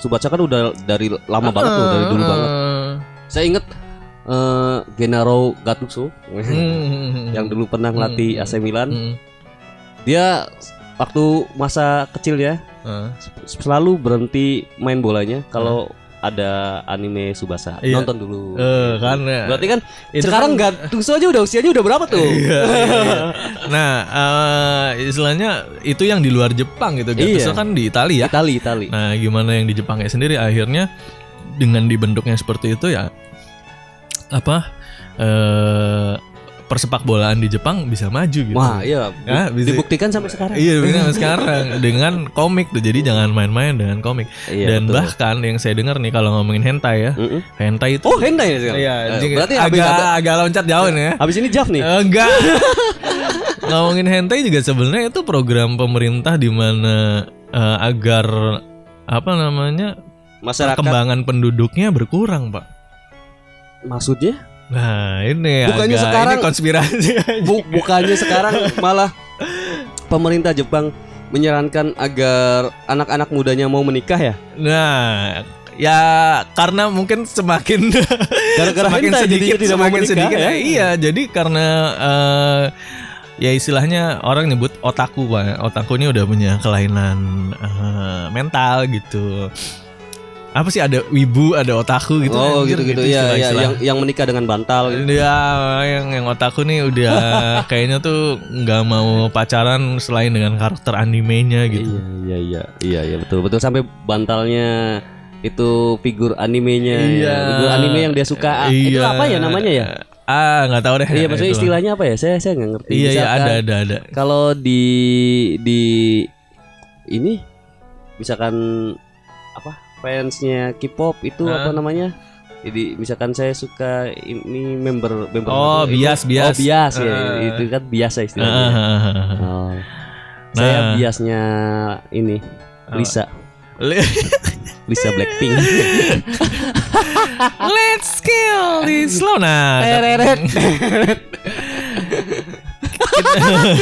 [SPEAKER 2] Subasa kan udah dari lama banget tuh, dari dulu
[SPEAKER 3] Eh,
[SPEAKER 2] banget. Saya inget eh, Gennaro Gattuso
[SPEAKER 3] hmm.
[SPEAKER 2] [laughs] yang dulu kan pernah
[SPEAKER 3] Hmm.
[SPEAKER 2] ngelatih AC Milan.
[SPEAKER 3] Hmm.
[SPEAKER 2] Dia waktu masa kecil ya
[SPEAKER 3] Eh,
[SPEAKER 2] s- selalu berhenti main bolanya kalau ada anime
[SPEAKER 3] Hmm.
[SPEAKER 2] Subasa.
[SPEAKER 3] Iya.
[SPEAKER 2] Nonton dulu.
[SPEAKER 3] eh, kan ya.
[SPEAKER 2] Berarti kan
[SPEAKER 3] Itu
[SPEAKER 2] sekarang
[SPEAKER 3] kan-
[SPEAKER 2] Gattuso aja udah usianya udah berapa tuh?
[SPEAKER 3] Iya, iya, iya. Nah, eh, istilahnya itu yang di luar Jepang gitu. Gattuso
[SPEAKER 2] Iya.
[SPEAKER 3] kan di Italia.
[SPEAKER 2] [laughs] Itali, Itali.
[SPEAKER 3] Nah, gimana yang di Jepangnya sendiri akhirnya dengan dibentuknya seperti itu ya apa eh persepakbolaan di Jepang bisa maju gitu.
[SPEAKER 2] Wah, iya. bu-
[SPEAKER 3] Ya, bisa-
[SPEAKER 2] Dibuktikan sampai sekarang.
[SPEAKER 3] Iya benar sekarang dengan komik tuh jadi jangan main-main dengan komik
[SPEAKER 2] [laughs] Iya,
[SPEAKER 3] dan
[SPEAKER 2] betul.
[SPEAKER 3] bahkan yang saya dengar nih kalau ngomongin hentai ya
[SPEAKER 2] Mm-mm.
[SPEAKER 3] hentai itu
[SPEAKER 2] Oh, hentai ya sekarang.
[SPEAKER 3] Iya,
[SPEAKER 2] Eh,
[SPEAKER 3] jadi
[SPEAKER 2] berarti habis, Iya.
[SPEAKER 3] agak agak loncat jauh nih ya.
[SPEAKER 2] habis ini Jaf nih.
[SPEAKER 3] Eh, Enggak. Ngomongin hentai juga sebenarnya itu program pemerintah di mana eh, agar apa namanya
[SPEAKER 2] Masyarakat
[SPEAKER 3] perkembangan penduduknya berkurang, Pak.
[SPEAKER 2] maksudnya
[SPEAKER 3] Nah, ini
[SPEAKER 2] Bukannya
[SPEAKER 3] agak
[SPEAKER 2] sekarang-
[SPEAKER 3] ini konspirasi. [laughs] aja.
[SPEAKER 2] bu- bukannya
[SPEAKER 3] [laughs]
[SPEAKER 2] sekarang malah pemerintah Jepang menyarankan agar anak-anak mudanya mau menikah ya?
[SPEAKER 3] Nah, ya karena mungkin semakin
[SPEAKER 2] Gara-gara
[SPEAKER 3] semakin
[SPEAKER 2] hentai
[SPEAKER 3] sedikit
[SPEAKER 2] jadinya tidak mau
[SPEAKER 3] semakin
[SPEAKER 2] menikah,
[SPEAKER 3] sedikit.
[SPEAKER 2] ya?
[SPEAKER 3] Ya, iya, jadi karena eh, ya istilahnya orang nyebut otaku, Pak. Otaku ini udah punya kelainan eh, mental gitu. apa sih ada wibu, ada otaku gitu.
[SPEAKER 2] oh
[SPEAKER 3] anjir,
[SPEAKER 2] gitu-gitu ya, ya
[SPEAKER 3] istilah-istilah.
[SPEAKER 2] yang yang menikah dengan bantal gitu.
[SPEAKER 3] Ya, yang yang otaku nih
[SPEAKER 2] [laughs]
[SPEAKER 3] udah kayaknya tuh nggak mau pacaran selain dengan karakter animenya gitu.
[SPEAKER 2] Iya iya iya iya iya betul betul sampai bantalnya itu figur animenya ya.
[SPEAKER 3] Iya.
[SPEAKER 2] figur anime yang dia suka itu
[SPEAKER 3] Iya.
[SPEAKER 2] apa ya namanya
[SPEAKER 3] [laughs]
[SPEAKER 2] ya
[SPEAKER 3] Ah, nggak tahu deh.
[SPEAKER 2] iya maksudnya
[SPEAKER 3] Itu.
[SPEAKER 2] istilahnya apa ya saya saya nggak ngerti
[SPEAKER 3] Iya, iya
[SPEAKER 2] Misalkan
[SPEAKER 3] ada ada ada.
[SPEAKER 2] kalau di di ini misalkan apa fansnya K-pop itu
[SPEAKER 3] Hah?
[SPEAKER 2] apa namanya jadi misalkan saya suka ini member member
[SPEAKER 3] Oh,
[SPEAKER 2] itu-
[SPEAKER 3] bias, bias.
[SPEAKER 2] oh bias ya
[SPEAKER 3] Eh.
[SPEAKER 2] itu kan bias ya istilahnya
[SPEAKER 3] Ah, ah, ah,
[SPEAKER 2] [laughs]
[SPEAKER 3] ah.
[SPEAKER 2] Oh. saya
[SPEAKER 3] Nah.
[SPEAKER 2] biasnya ini
[SPEAKER 3] Apa?
[SPEAKER 2] Lisa
[SPEAKER 3] Le-
[SPEAKER 2] Lisa
[SPEAKER 3] [laughs]
[SPEAKER 2] Blackpink.
[SPEAKER 3] Let's kill this slow nah.
[SPEAKER 2] [laughs] Tereret.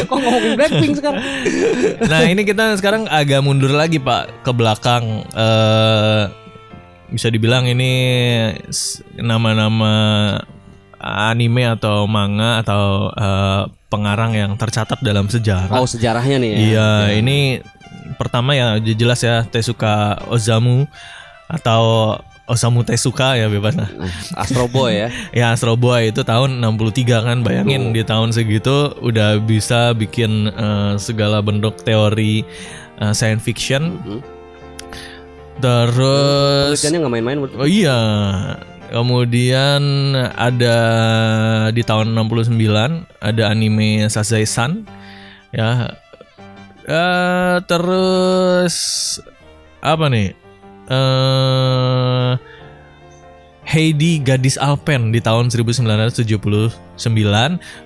[SPEAKER 2] Kok ngomongin Blackpink sekarang?
[SPEAKER 3] Nah, ini kita sekarang agak mundur lagi, Pak, ke belakang eh bisa dibilang ini s- nama-nama anime atau manga atau eh, pengarang yang tercatat dalam sejarah.
[SPEAKER 2] Oh sejarahnya nih. Ya.
[SPEAKER 3] Iya, ini pertama ya j- jelas ya Tezuka Ozamu atau Osamu Tezuka ya bebas lah.
[SPEAKER 2] Nah, Astro Boy ya.
[SPEAKER 3] Ya Astro Boy itu tahun 63 kan bayangin
[SPEAKER 2] Oh.
[SPEAKER 3] di tahun segitu udah bisa bikin eh, segala bentuk teori eh, science fiction
[SPEAKER 2] Mm-mm.
[SPEAKER 3] terus
[SPEAKER 2] Penelitiannya Hmm? nggak main-main. menurut-
[SPEAKER 3] oh iya kemudian ada di tahun 69 ada anime Sazae San ya Eh, terus apa nih eh Heidi Gadis Alpen di tahun 1979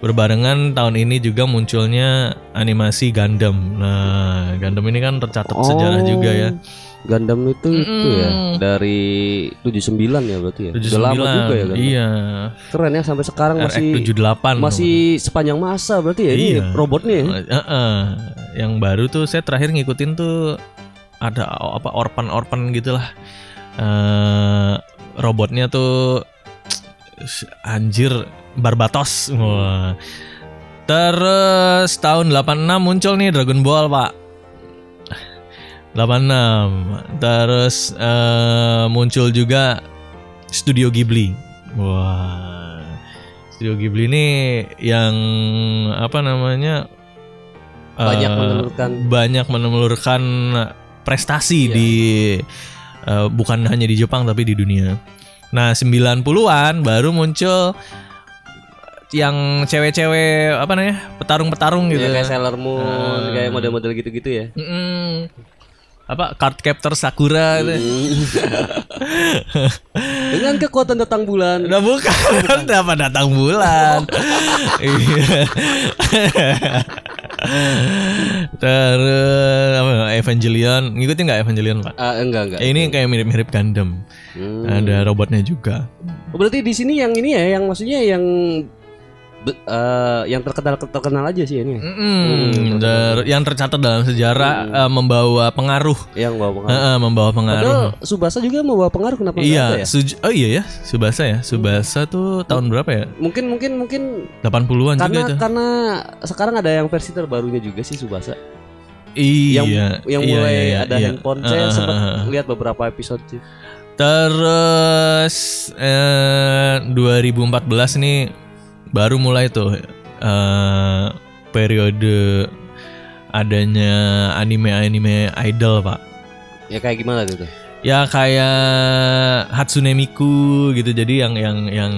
[SPEAKER 3] berbarengan tahun ini juga munculnya animasi Gundam. Nah, Gundam ini kan tercatat sejarah juga ya.
[SPEAKER 2] Oh, Gundam itu itu ya
[SPEAKER 3] Mm-mm.
[SPEAKER 2] dari 79 ya berarti ya. Udah lama juga ya Gundam.
[SPEAKER 3] Iya. Eh,
[SPEAKER 2] Keren ya sampai sekarang masih
[SPEAKER 3] RX78.
[SPEAKER 2] masih sepanjang masa berarti ya ini
[SPEAKER 3] Iya.
[SPEAKER 2] robotnya ya.
[SPEAKER 3] Heeh. Yang baru tuh saya terakhir ngikutin tuh ada apa orpan-orpan gitulah. Eh robotnya tuh anjir Barbatos. Wah. Terus tahun 86 muncul nih Dragon Ball, Pak. 86. Terus eh, muncul juga Studio Ghibli. Wah. Studio Ghibli ini yang apa namanya?
[SPEAKER 2] Banyak
[SPEAKER 3] eh,
[SPEAKER 2] menelurkan.
[SPEAKER 3] banyak menemelurkan prestasi
[SPEAKER 2] Iya.
[SPEAKER 3] di eh, bukan hanya di Jepang tapi di dunia. Nah, 90-an baru muncul yang cewek-cewek apa namanya? petarung-petarung gitu.
[SPEAKER 2] Ya, kayak Sailor
[SPEAKER 3] Eh.
[SPEAKER 2] Moon, kayak model-model gitu-gitu ya.
[SPEAKER 3] Mm-mm. apa card captor Sakura gitu. itu.
[SPEAKER 2] Dengan kekuatan datang bulan.
[SPEAKER 3] Udah
[SPEAKER 2] Oh,
[SPEAKER 3] bukan, kenapa datang
[SPEAKER 2] [laughs]
[SPEAKER 3] bulan? Iya. Terus apa, ya, Evangelion, ngikutin nggak Evangelion pak?
[SPEAKER 2] Ah, enggak enggak.
[SPEAKER 3] Ya, ini kayak mirip-mirip Gundam,
[SPEAKER 2] Hmm.
[SPEAKER 3] ada robotnya juga.
[SPEAKER 2] Oh, Berarti di sini yang ini ya, yang maksudnya yang be- eh, yang terkenal terkenal aja sih ini,
[SPEAKER 3] Mm-mm. Hmm, Ter- yang tercatat dalam sejarah eh, membawa pengaruh,
[SPEAKER 2] yang bawa pengaruh.
[SPEAKER 3] Eh, eh, membawa pengaruh.
[SPEAKER 2] Hmm. Padahal Subasa juga membawa pengaruh kenapa nggak ada
[SPEAKER 3] Iya,
[SPEAKER 2] ya?
[SPEAKER 3] Suj- oh iya ya, Subasa ya, Subasa tuh tahun berapa ya?
[SPEAKER 2] Mungkin mungkin mungkin
[SPEAKER 3] 80-an juga
[SPEAKER 2] karena
[SPEAKER 3] itu.
[SPEAKER 2] karena sekarang ada yang versi terbarunya juga sih Subasa.
[SPEAKER 3] Iya,
[SPEAKER 2] yang yang
[SPEAKER 3] iya,
[SPEAKER 2] mulai
[SPEAKER 3] iya, iya,
[SPEAKER 2] ada
[SPEAKER 3] iya.
[SPEAKER 2] handphone.
[SPEAKER 3] Ah,
[SPEAKER 2] Saya sempat
[SPEAKER 3] ah, ah.
[SPEAKER 2] lihat beberapa episode sih.
[SPEAKER 3] Terus eh, 2014 nih baru mulai tuh eh, periode adanya anime-anime idol pak.
[SPEAKER 2] Ya kayak gimana gitu.
[SPEAKER 3] Ya kayak Hatsune Miku gitu jadi yang yang yang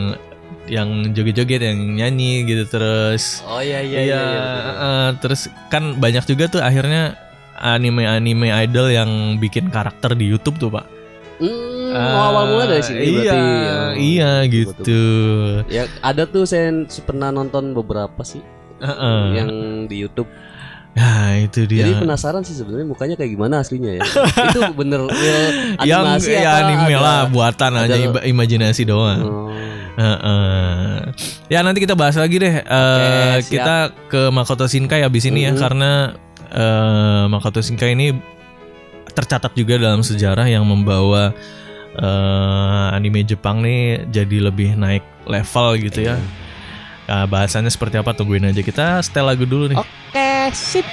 [SPEAKER 3] yang joget-joget yang nyanyi gitu terus.
[SPEAKER 2] Oh iya
[SPEAKER 3] Iya. eh, terus kan banyak juga tuh akhirnya anime-anime idol yang bikin karakter di YouTube tuh pak.
[SPEAKER 2] Hmm,
[SPEAKER 3] Ah,
[SPEAKER 2] awal mula dari sini
[SPEAKER 3] iya,
[SPEAKER 2] berarti. Oh,
[SPEAKER 3] Iya
[SPEAKER 2] betul, betul.
[SPEAKER 3] gitu.
[SPEAKER 2] Ya ada tuh saya pernah nonton beberapa sih
[SPEAKER 3] Heeh.
[SPEAKER 2] yang di YouTube.
[SPEAKER 3] Nah, itu dia.
[SPEAKER 2] Iya. Jadi penasaran sih sebenarnya mukanya kayak gimana
[SPEAKER 3] [laughs]
[SPEAKER 2] aslinya ya. itu bener real
[SPEAKER 3] yang
[SPEAKER 2] animasi
[SPEAKER 3] ya
[SPEAKER 2] atau
[SPEAKER 3] anime
[SPEAKER 2] ada-
[SPEAKER 3] lah buatan
[SPEAKER 2] ada-
[SPEAKER 3] aja ima- imajinasi doang.
[SPEAKER 2] Oh.
[SPEAKER 3] Heeh. Ya nanti kita bahas lagi deh. Eh,
[SPEAKER 2] Oke, siap.
[SPEAKER 3] kita ke Makoto Shinkai habis ini ya
[SPEAKER 2] Mhm.
[SPEAKER 3] karena eh, Makoto Shinkai ini tercatat juga dalam sejarah yang membawa eh, anime Jepang nih jadi lebih naik level gitu
[SPEAKER 2] Iya.
[SPEAKER 3] ya. Nah, bahasannya seperti apa tungguin aja kita setel lagu dulu nih.
[SPEAKER 2] Oke, sip.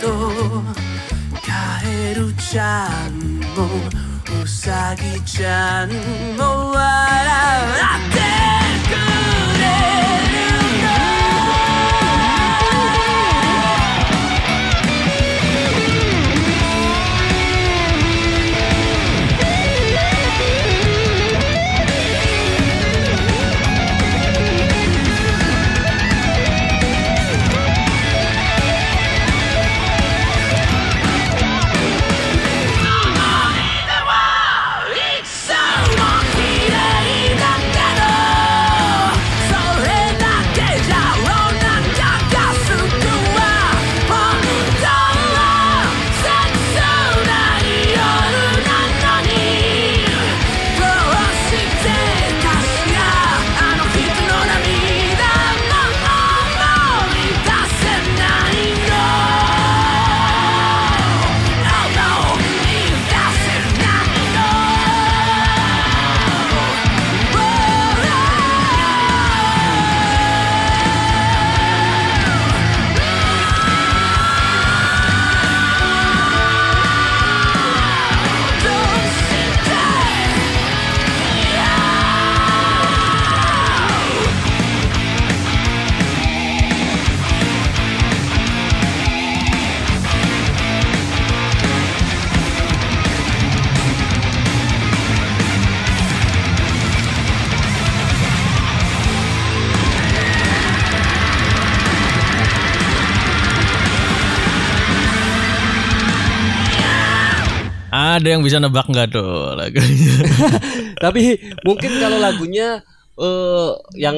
[SPEAKER 4] とカエルちゃんもウサギちゃんも笑ってくれるの「いつも綺麗だけど」「それだけじゃおなかがすくわ」「本当は切ない夜なのに」「どうしてかしらあの人の涙も思い出せないの」Oh no, it doesn't matter. Don't sit there.
[SPEAKER 3] Ada yang bisa nebak nggak tuh lagunya?
[SPEAKER 2] Tapi mungkin kalau lagunya eh yang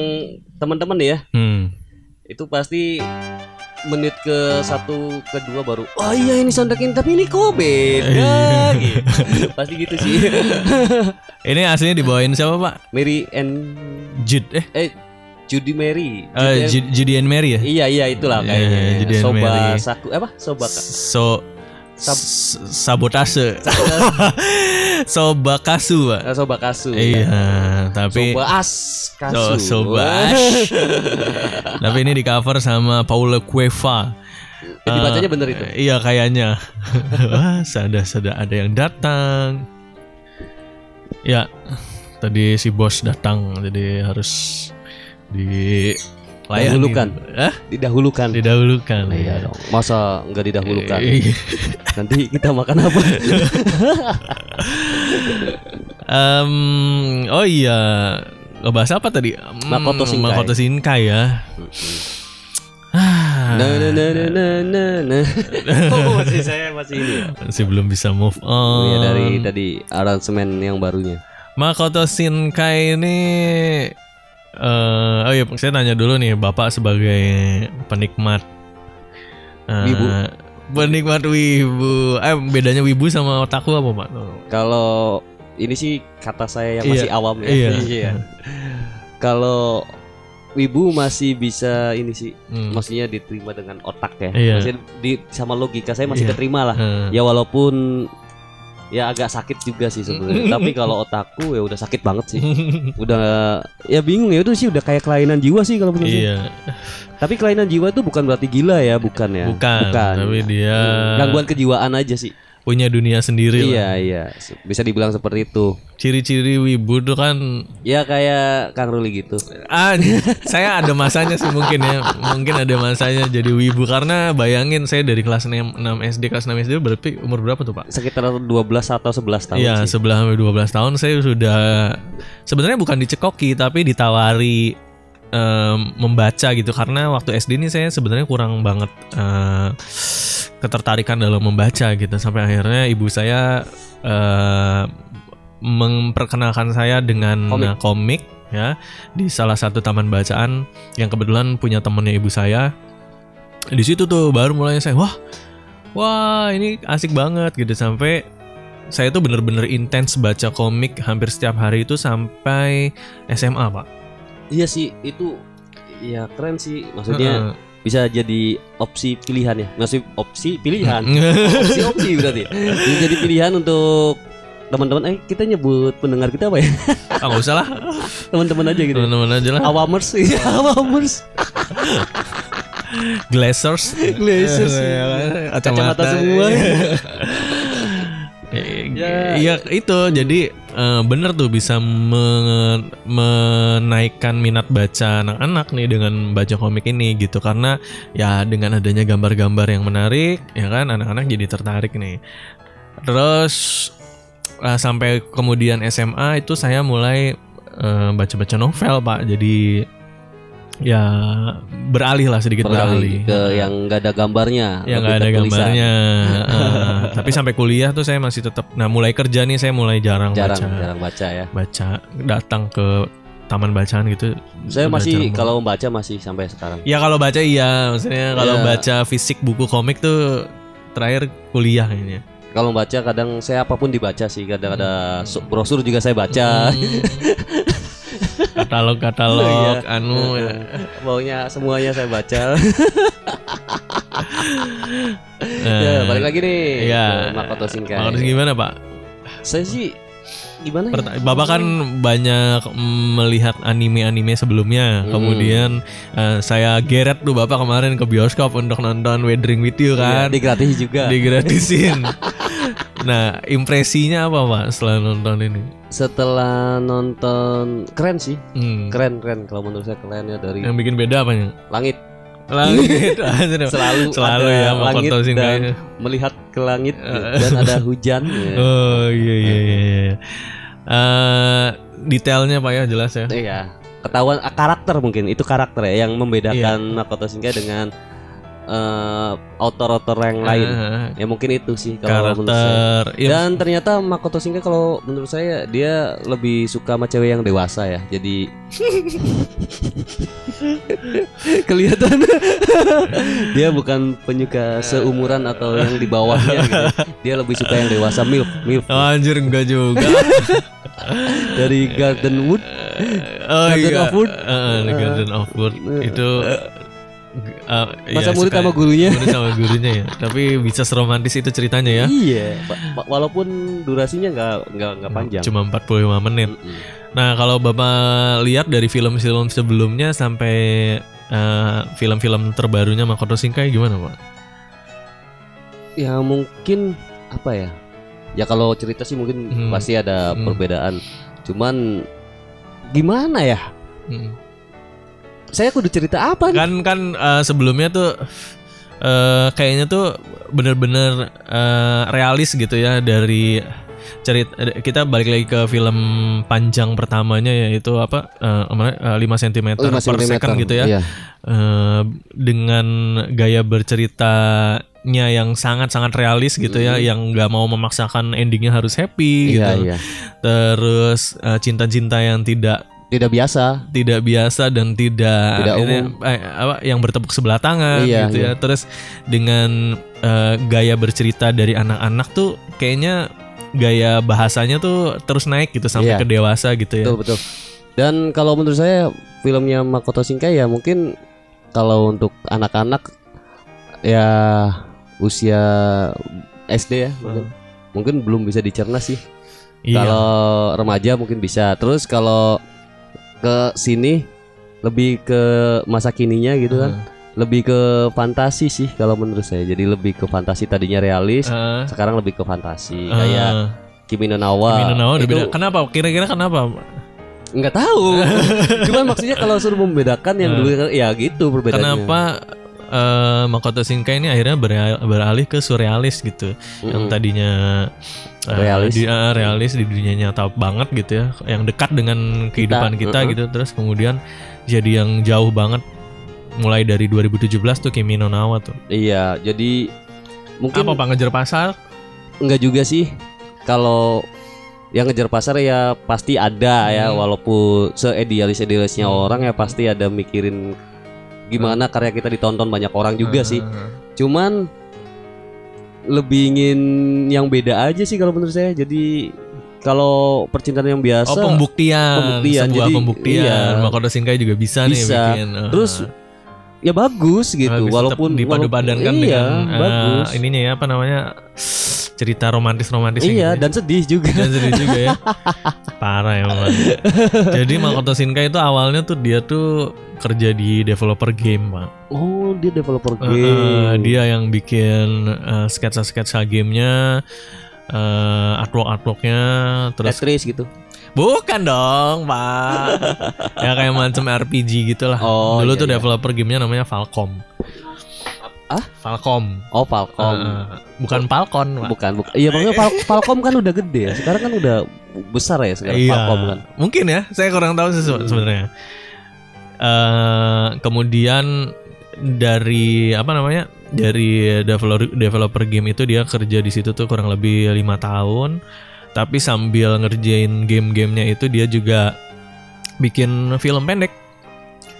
[SPEAKER 2] teman-teman ya,
[SPEAKER 3] Hmm.
[SPEAKER 2] itu pasti menit ke satu kedua baru oh iya ini soundtracknya tapi ini kok
[SPEAKER 3] [laughs]
[SPEAKER 2] beda gitu. pasti gitu sih [laughs]
[SPEAKER 3] Ini aslinya dibawain siapa pak?
[SPEAKER 2] Mary and
[SPEAKER 3] Jude eh
[SPEAKER 2] eh Judy Mary
[SPEAKER 3] eh, Ju-
[SPEAKER 2] Judy-
[SPEAKER 3] Judy and Mary ya?
[SPEAKER 2] iya iya itulah
[SPEAKER 3] Iya,
[SPEAKER 2] kayaknya
[SPEAKER 3] iya, Judy and
[SPEAKER 2] soba
[SPEAKER 3] Mary.
[SPEAKER 2] saku eh, apa soba
[SPEAKER 3] So
[SPEAKER 2] Sab-
[SPEAKER 3] s- sabotase. [laughs] Sobakasu pak.
[SPEAKER 2] eh, soba kasu
[SPEAKER 3] Iya, tapi
[SPEAKER 2] soba as kasu Eh,
[SPEAKER 3] So- soba as. [laughs] tapi ini di cover sama Paula Cueva.
[SPEAKER 2] Eh, dibacanya bener itu
[SPEAKER 3] Eh, Iya kayaknya. [laughs] Wah, sada-sada ada yang datang. Ya, tadi si bos datang, jadi harus di
[SPEAKER 2] Dahulukan.
[SPEAKER 3] Hah?
[SPEAKER 2] didahulukan
[SPEAKER 3] Didahulukan. ya.
[SPEAKER 2] iya dong masa nggak didahulukan
[SPEAKER 3] Iya.
[SPEAKER 2] nanti kita makan
[SPEAKER 3] [laughs]
[SPEAKER 2] apa
[SPEAKER 3] Em, oh iya, ngebahas apa tadi? Hmm,
[SPEAKER 2] Makoto Shinkai.
[SPEAKER 3] Makoto Shinkai ya.
[SPEAKER 2] na na na na na na
[SPEAKER 3] [laughs]
[SPEAKER 2] na oh, masih saya masih ini ya?
[SPEAKER 3] Masih belum bisa move on.
[SPEAKER 2] Iya dari tadi aransemen yang barunya.
[SPEAKER 3] Makoto Shinkai ini eh oh iya saya tanya dulu nih Bapak sebagai penikmat eh,
[SPEAKER 2] Wibu.
[SPEAKER 3] Penikmat wibu. Eh bedanya wibu sama otaku apa, Pak? Oh,
[SPEAKER 2] Kalau ini sih kata saya yang masih awam ya.
[SPEAKER 3] Iya.
[SPEAKER 2] Kalau Wibu masih bisa ini sih,
[SPEAKER 3] Hmm.
[SPEAKER 2] maksudnya diterima dengan otak ya.
[SPEAKER 3] Iya.
[SPEAKER 2] Maksudnya di sama logika saya masih
[SPEAKER 3] Iya.
[SPEAKER 2] keterima lah.
[SPEAKER 3] Eh,
[SPEAKER 2] Ya walaupun ya agak sakit juga sih
[SPEAKER 3] Hmm.
[SPEAKER 2] sebenarnya. Tapi kalau otakku ya udah sakit banget
[SPEAKER 3] [laughs]
[SPEAKER 2] sih. Udah ya bingung ya itu sih udah kayak kelainan jiwa sih kalau menurut saya.
[SPEAKER 3] iya,
[SPEAKER 2] Tapi kelainan jiwa itu bukan berarti gila ya, bukan ya.
[SPEAKER 3] bukan, tapi dia
[SPEAKER 2] Hmm, Gangguan kejiwaan aja sih.
[SPEAKER 3] punya dunia sendiri lah.
[SPEAKER 2] Iya iya Se- bisa dibilang seperti itu.
[SPEAKER 3] Ciri-ciri wibu tuh kan
[SPEAKER 2] Ya kayak Kang Ruli gitu.
[SPEAKER 3] Ah, saya ada masanya sih mungkin ya. Mungkin ada masanya jadi wibu karena bayangin saya dari kelas 6, 6 SD kelas 6 SD berarti umur berapa tuh, Pak?
[SPEAKER 2] Sekitar 12 atau 11 tahun
[SPEAKER 3] Iya,
[SPEAKER 2] sih.
[SPEAKER 3] 11 sampai 12 tahun saya sudah sebenarnya bukan dicekoki tapi ditawari em, membaca gitu karena waktu SD ini saya sebenarnya kurang banget eh, ketertarikan dalam membaca gitu sampai akhirnya ibu saya eh, memperkenalkan saya dengan
[SPEAKER 2] Komik.
[SPEAKER 3] eh, komik ya di salah satu taman bacaan yang kebetulan punya temennya ibu saya di situ tuh baru mulai saya wah wah ini asik banget gitu sampai saya tuh bener-bener intens baca komik hampir setiap hari itu sampai SMA pak
[SPEAKER 2] Iya sih itu ya keren sih maksudnya
[SPEAKER 3] Heeh.
[SPEAKER 2] bisa jadi opsi pilihan ya. Masih opsi
[SPEAKER 3] [laughs]
[SPEAKER 2] pilihan. opsi opsi berarti. Bisa jadi pilihan untuk teman-teman eh kita nyebut pendengar kita apa ya? [laughs]
[SPEAKER 3] ah nggak usah lah
[SPEAKER 2] Teman-teman aja gitu. [laughs]
[SPEAKER 3] teman-teman aja lah
[SPEAKER 2] Awamers, iya, awamers.
[SPEAKER 3] Glazers.
[SPEAKER 2] Glazers.
[SPEAKER 3] Iya kan?
[SPEAKER 2] Kacamata semua.
[SPEAKER 3] Eh,
[SPEAKER 2] Ya.
[SPEAKER 3] Iya itu jadi eh, bener tuh bisa menge- menaikkan minat baca anak-anak nih dengan baca komik ini gitu karena ya dengan adanya gambar-gambar yang menarik ya kan anak-anak jadi tertarik nih terus eh, sampai kemudian SMA itu saya mulai eh, baca-baca novel pak jadi ya beralih lah sedikit beralih,
[SPEAKER 2] Beralih ke yang nggak ada gambarnya.
[SPEAKER 3] yang
[SPEAKER 2] lebih
[SPEAKER 3] nggak ada
[SPEAKER 2] ke tulisan. [laughs]
[SPEAKER 3] gambarnya. Heeh. tapi sampai kuliah tuh saya masih tetap. Nah, mulai kerja nih saya mulai jarang,
[SPEAKER 2] Jarang,
[SPEAKER 3] baca,
[SPEAKER 2] jarang baca ya.
[SPEAKER 3] baca datang ke taman bacaan gitu.
[SPEAKER 2] Saya
[SPEAKER 3] udah
[SPEAKER 2] masih
[SPEAKER 3] jarang
[SPEAKER 2] kalau membaca masih sampai sekarang.
[SPEAKER 3] banget. ya kalau baca iya, maksudnya kalau
[SPEAKER 2] Ya.
[SPEAKER 3] baca fisik buku komik tuh terakhir kuliah
[SPEAKER 2] [laughs]
[SPEAKER 3] kayaknya.
[SPEAKER 2] Kalau membaca kadang saya apapun dibaca sih. Kadang ada su- brosur juga saya baca.
[SPEAKER 3] Hmm. Katalog-katalog
[SPEAKER 2] Iya. [laughs]
[SPEAKER 3] anu ya.
[SPEAKER 2] [laughs] Maunya semuanya saya baca.
[SPEAKER 3] Eh,
[SPEAKER 2] ya, [laughs] balik lagi nih.
[SPEAKER 3] Nah. Iya.
[SPEAKER 2] ke Makoto Shinkai.
[SPEAKER 3] Pak Arus gimana, Pak?
[SPEAKER 2] Saya sih gimana? ya?
[SPEAKER 3] Perta- Bapak kan banyak mm, melihat anime-anime sebelumnya.
[SPEAKER 2] Hmm.
[SPEAKER 3] Kemudian eh, saya geret tuh Bapak kemarin ke bioskop untuk nonton Weathering with You
[SPEAKER 2] Iya,
[SPEAKER 3] kan.
[SPEAKER 2] digratis juga.
[SPEAKER 3] [laughs] Digratisin. nah, impresinya apa, Pak, setelah nonton ini?
[SPEAKER 2] Setelah nonton keren sih.
[SPEAKER 3] Hmm.
[SPEAKER 2] Keren keren kalau menurut saya keren ya dari
[SPEAKER 3] Yang bikin beda apanya?
[SPEAKER 2] [laughs]
[SPEAKER 3] [laughs]
[SPEAKER 2] langit
[SPEAKER 3] Langit. [laughs]
[SPEAKER 2] selalu
[SPEAKER 3] Selalu
[SPEAKER 2] ada
[SPEAKER 3] ya, Makoto
[SPEAKER 2] langit dan
[SPEAKER 3] Shinkai.
[SPEAKER 2] melihat ke langit gitu. dan
[SPEAKER 3] [laughs]
[SPEAKER 2] ada hujan. ya.
[SPEAKER 3] oh, iya iya
[SPEAKER 2] Hmm.
[SPEAKER 3] iya. iya. Eh, detailnya Pak ya jelas ya.
[SPEAKER 2] Iya. Ketahuan ah, karakter mungkin itu karakter ya yang membedakan
[SPEAKER 3] Iya.
[SPEAKER 2] Makoto Shinkai dengan eh, author-author yang lain.
[SPEAKER 3] Eh,
[SPEAKER 2] Ya mungkin itu sih kalau menurut saya.
[SPEAKER 3] karakter. Iya,
[SPEAKER 2] Dan ternyata Makoto Shinkai kalau menurut saya dia lebih suka sama cewek yang dewasa ya.
[SPEAKER 3] [laughs]
[SPEAKER 2] Jadi kelihatan [laughs] dia bukan penyuka seumuran atau yang di bawahnya gitu. Dia lebih suka yang dewasa milf milf
[SPEAKER 3] Oh, Iya, anjir enggak juga.
[SPEAKER 2] dari Garden Wood.
[SPEAKER 3] Eh, Oh
[SPEAKER 2] Garden
[SPEAKER 3] iya.
[SPEAKER 2] of Wood. Eh,
[SPEAKER 3] Heeh, The Garden of Wood itu eh, ya,
[SPEAKER 2] Masa murid
[SPEAKER 3] suka-
[SPEAKER 2] sama gurunya.
[SPEAKER 3] murid sama gurunya ya. Tapi bisa seromantis itu ceritanya ya.
[SPEAKER 2] Iya, wa- wa- walaupun durasinya nggak nggak nggak panjang.
[SPEAKER 3] Cuma 45 menit.
[SPEAKER 2] Mm-mm.
[SPEAKER 3] Nah, kalau Bapak lihat dari film-film sebelumnya sampai eh, film-film terbarunya Makoto Shinkai gimana, Pak?
[SPEAKER 2] Ya mungkin apa ya? Ya kalau cerita sih mungkin
[SPEAKER 3] Hmm.
[SPEAKER 2] pasti ada
[SPEAKER 3] Hmm.
[SPEAKER 2] perbedaan. Cuman gimana ya?
[SPEAKER 3] Mm.
[SPEAKER 2] Saya kudu cerita apa nih?
[SPEAKER 3] Kan kan eh, sebelumnya tuh eh, kayaknya tuh bener-bener eh, realis gitu ya dari cerita kita balik lagi ke film panjang pertamanya yaitu apa eh, mana, eh, 5 cm per
[SPEAKER 2] 5 cm.
[SPEAKER 3] second gitu ya.
[SPEAKER 2] Iya.
[SPEAKER 3] Eh, dengan gaya berceritanya yang sangat-sangat realis gitu ya yang nggak mau memaksakan endingnya harus happy
[SPEAKER 2] Mm-hmm. Iya,
[SPEAKER 3] gitu.
[SPEAKER 2] iya.
[SPEAKER 3] Terus eh, cinta-cinta yang tidak
[SPEAKER 2] Tidak biasa.
[SPEAKER 3] tidak biasa dan tidak,
[SPEAKER 2] Tidak
[SPEAKER 3] ini, eh, apa yang bertepuk sebelah tangan
[SPEAKER 2] Iya,
[SPEAKER 3] gitu
[SPEAKER 2] iya.
[SPEAKER 3] ya. Terus dengan eh, gaya bercerita dari anak-anak tuh kayaknya gaya bahasanya tuh terus naik gitu sampai
[SPEAKER 2] Iya.
[SPEAKER 3] ke dewasa gitu ya.
[SPEAKER 2] Betul, betul. Dan kalau menurut saya filmnya Makoto Shinkai ya mungkin kalau untuk anak-anak ya usia SD ya
[SPEAKER 3] Hmm.
[SPEAKER 2] mungkin, mungkin belum bisa dicerna sih.
[SPEAKER 3] Iya.
[SPEAKER 2] Kalau remaja mungkin bisa. Terus kalau ke sini lebih ke masa kininya gitu
[SPEAKER 3] Hmm.
[SPEAKER 2] kan.
[SPEAKER 3] Eh,
[SPEAKER 2] Lebih ke fantasi sih kalau menurut saya. Jadi lebih ke fantasi tadinya realis,
[SPEAKER 3] Eh,
[SPEAKER 2] sekarang lebih ke fantasi.
[SPEAKER 3] eh,
[SPEAKER 2] Kayak Kimi no Na wa.
[SPEAKER 3] Kimi no Na wa udah
[SPEAKER 2] Itu
[SPEAKER 3] beda. Kenapa? Kira-kira kenapa?
[SPEAKER 2] nggak
[SPEAKER 3] [laughs]
[SPEAKER 2] tahu. Cuman maksudnya kalau suruh membedakan yang dulu ya gitu perbedaannya.
[SPEAKER 3] Eh. Kenapa eh, Makoto Shinkai ini akhirnya beral- beralih ke surrealis gitu, yang
[SPEAKER 2] Mm-mm.
[SPEAKER 3] tadinya eh,
[SPEAKER 2] Hmm. Realis.
[SPEAKER 3] di, eh, realis di dunia nyata banget gitu ya, yang dekat dengan kehidupan kita,
[SPEAKER 2] mm-mm.
[SPEAKER 3] gitu, terus kemudian jadi yang jauh banget, mulai dari 2017 tuh Kimi no Na wa tuh.
[SPEAKER 2] Iya, jadi mungkin
[SPEAKER 3] Apa Pak ngejar pasar?
[SPEAKER 2] Enggak juga sih. Kalau yang ngejar pasar ya pasti ada ya
[SPEAKER 3] Hmm.
[SPEAKER 2] walaupun seidealis-idealisnya
[SPEAKER 3] Hmm.
[SPEAKER 2] orang ya pasti ada mikirin gimana karya kita ditonton banyak orang juga
[SPEAKER 3] Hmm.
[SPEAKER 2] sih.
[SPEAKER 3] Eh,
[SPEAKER 2] Cuman lebih ingin yang beda aja sih kalau menurut saya. Jadi kalau percintaan yang biasa
[SPEAKER 3] Oh pembuktian,
[SPEAKER 2] Pembuktian,
[SPEAKER 3] sebuah
[SPEAKER 2] jadi-
[SPEAKER 3] pembuktian.
[SPEAKER 2] iya.
[SPEAKER 3] Makoto Shinkai juga bisa, nih
[SPEAKER 2] Bisa.
[SPEAKER 3] bikin. eh,
[SPEAKER 2] terus ya bagus gitu
[SPEAKER 3] Habis tetap
[SPEAKER 2] walaupun
[SPEAKER 3] dipadu-padankan
[SPEAKER 2] walaupun- iya,
[SPEAKER 3] dengan eh,
[SPEAKER 2] bagus.
[SPEAKER 3] ininya ya apa namanya cerita romantis-romantis yang
[SPEAKER 2] Iya
[SPEAKER 3] gitu ya.
[SPEAKER 2] dan sedih juga.
[SPEAKER 3] dan sedih juga ya [laughs] parah emang jadi Makoto Shinkai itu awalnya tuh dia tuh kerja di developer game pak
[SPEAKER 2] Oh dia developer
[SPEAKER 3] Eh,
[SPEAKER 2] game.
[SPEAKER 3] eh, dia yang bikin eh, sketsa-sketsa gamenya eh, artwork-artworknya terus
[SPEAKER 2] Tetris gitu.
[SPEAKER 3] Bukan dong, Pak. ya kayak macam RPG gitu lah.
[SPEAKER 2] Oh,
[SPEAKER 3] Dulu
[SPEAKER 2] iya,
[SPEAKER 3] tuh
[SPEAKER 2] iya.
[SPEAKER 3] developer gamenya namanya Falcom.
[SPEAKER 2] Ah?
[SPEAKER 3] Falcom.
[SPEAKER 2] Oh Falcom.
[SPEAKER 3] Eh, bukan Falcon, Pak.
[SPEAKER 2] bukan bukan. Iya maksudnya Fal- Falcom kan udah gede ya. Sekarang kan udah besar ya sekarang
[SPEAKER 3] Iya.
[SPEAKER 2] Falcom kan.
[SPEAKER 3] Mungkin ya, saya kurang tahu sih se-
[SPEAKER 2] Hmm.
[SPEAKER 3] sebenarnya. Eh, kemudian dari apa namanya? Dari developer developer game itu dia kerja di situ tuh kurang lebih lima tahun. Tapi sambil ngerjain game-gamenya itu dia juga bikin film pendek.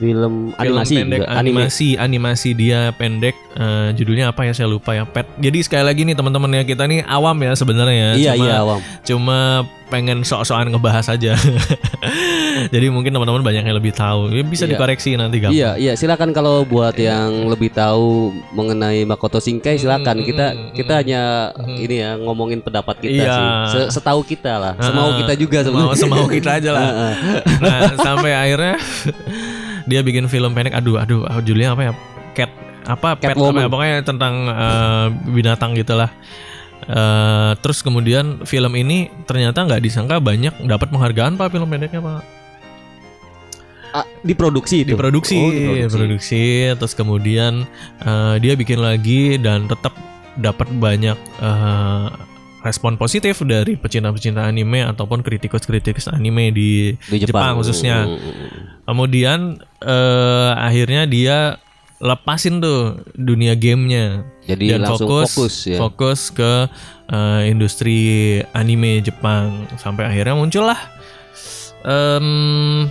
[SPEAKER 2] Film animasi
[SPEAKER 3] film pendek
[SPEAKER 2] juga. Anime.
[SPEAKER 3] animasi animasi dia pendek eh, judulnya apa ya saya lupa ya pet jadi sekali lagi nih teman-teman ya kita nih awam ya sebenarnya
[SPEAKER 2] Iya
[SPEAKER 3] cuma
[SPEAKER 2] iya awam.
[SPEAKER 3] cuma pengen sok-sokan ngebahas aja [laughs] jadi mungkin teman-teman banyak yang lebih tahu Ya, bisa
[SPEAKER 2] Iya.
[SPEAKER 3] dikoreksi nanti gampang
[SPEAKER 2] Iya iya silakan kalau buat yang lebih tahu mengenai Makoto Shinkai silakan
[SPEAKER 3] Mm,
[SPEAKER 2] kita
[SPEAKER 3] mm,
[SPEAKER 2] kita
[SPEAKER 3] mm.
[SPEAKER 2] hanya
[SPEAKER 3] Mm.
[SPEAKER 2] ini ya ngomongin pendapat kita
[SPEAKER 3] Iya.
[SPEAKER 2] sih Se- setahu kita lah semau
[SPEAKER 3] Ah,
[SPEAKER 2] kita juga
[SPEAKER 3] semau
[SPEAKER 2] sebenarnya.
[SPEAKER 3] semau kita aja lah
[SPEAKER 2] Heeh.
[SPEAKER 3] [laughs] nah sampai akhirnya [laughs] dia bikin film pendek aduh aduh ah, judulnya apa ya cat apa pet
[SPEAKER 2] Catwoman.
[SPEAKER 3] apa ya, pokoknya tentang eh, binatang gitulah Eh terus kemudian film ini ternyata nggak disangka banyak dapat penghargaan pak film pendeknya pak
[SPEAKER 2] Ah, diproduksi itu.
[SPEAKER 3] diproduksi
[SPEAKER 2] Oh,
[SPEAKER 3] produksi. terus kemudian eh, dia bikin lagi dan tetap dapat banyak eh, respon positif dari pecinta-pecinta anime ataupun kritikus-kritikus anime di
[SPEAKER 2] di Jepang,
[SPEAKER 3] Jepang khususnya.
[SPEAKER 2] Mm, mm, mm.
[SPEAKER 3] Kemudian eh, akhirnya dia lepasin tuh dunia gamenya
[SPEAKER 2] Jadi
[SPEAKER 3] dan
[SPEAKER 2] langsung
[SPEAKER 3] fokus
[SPEAKER 2] fokus,
[SPEAKER 3] fokus,
[SPEAKER 2] ya.
[SPEAKER 3] ke eh, industri anime Jepang sampai akhirnya muncullah em,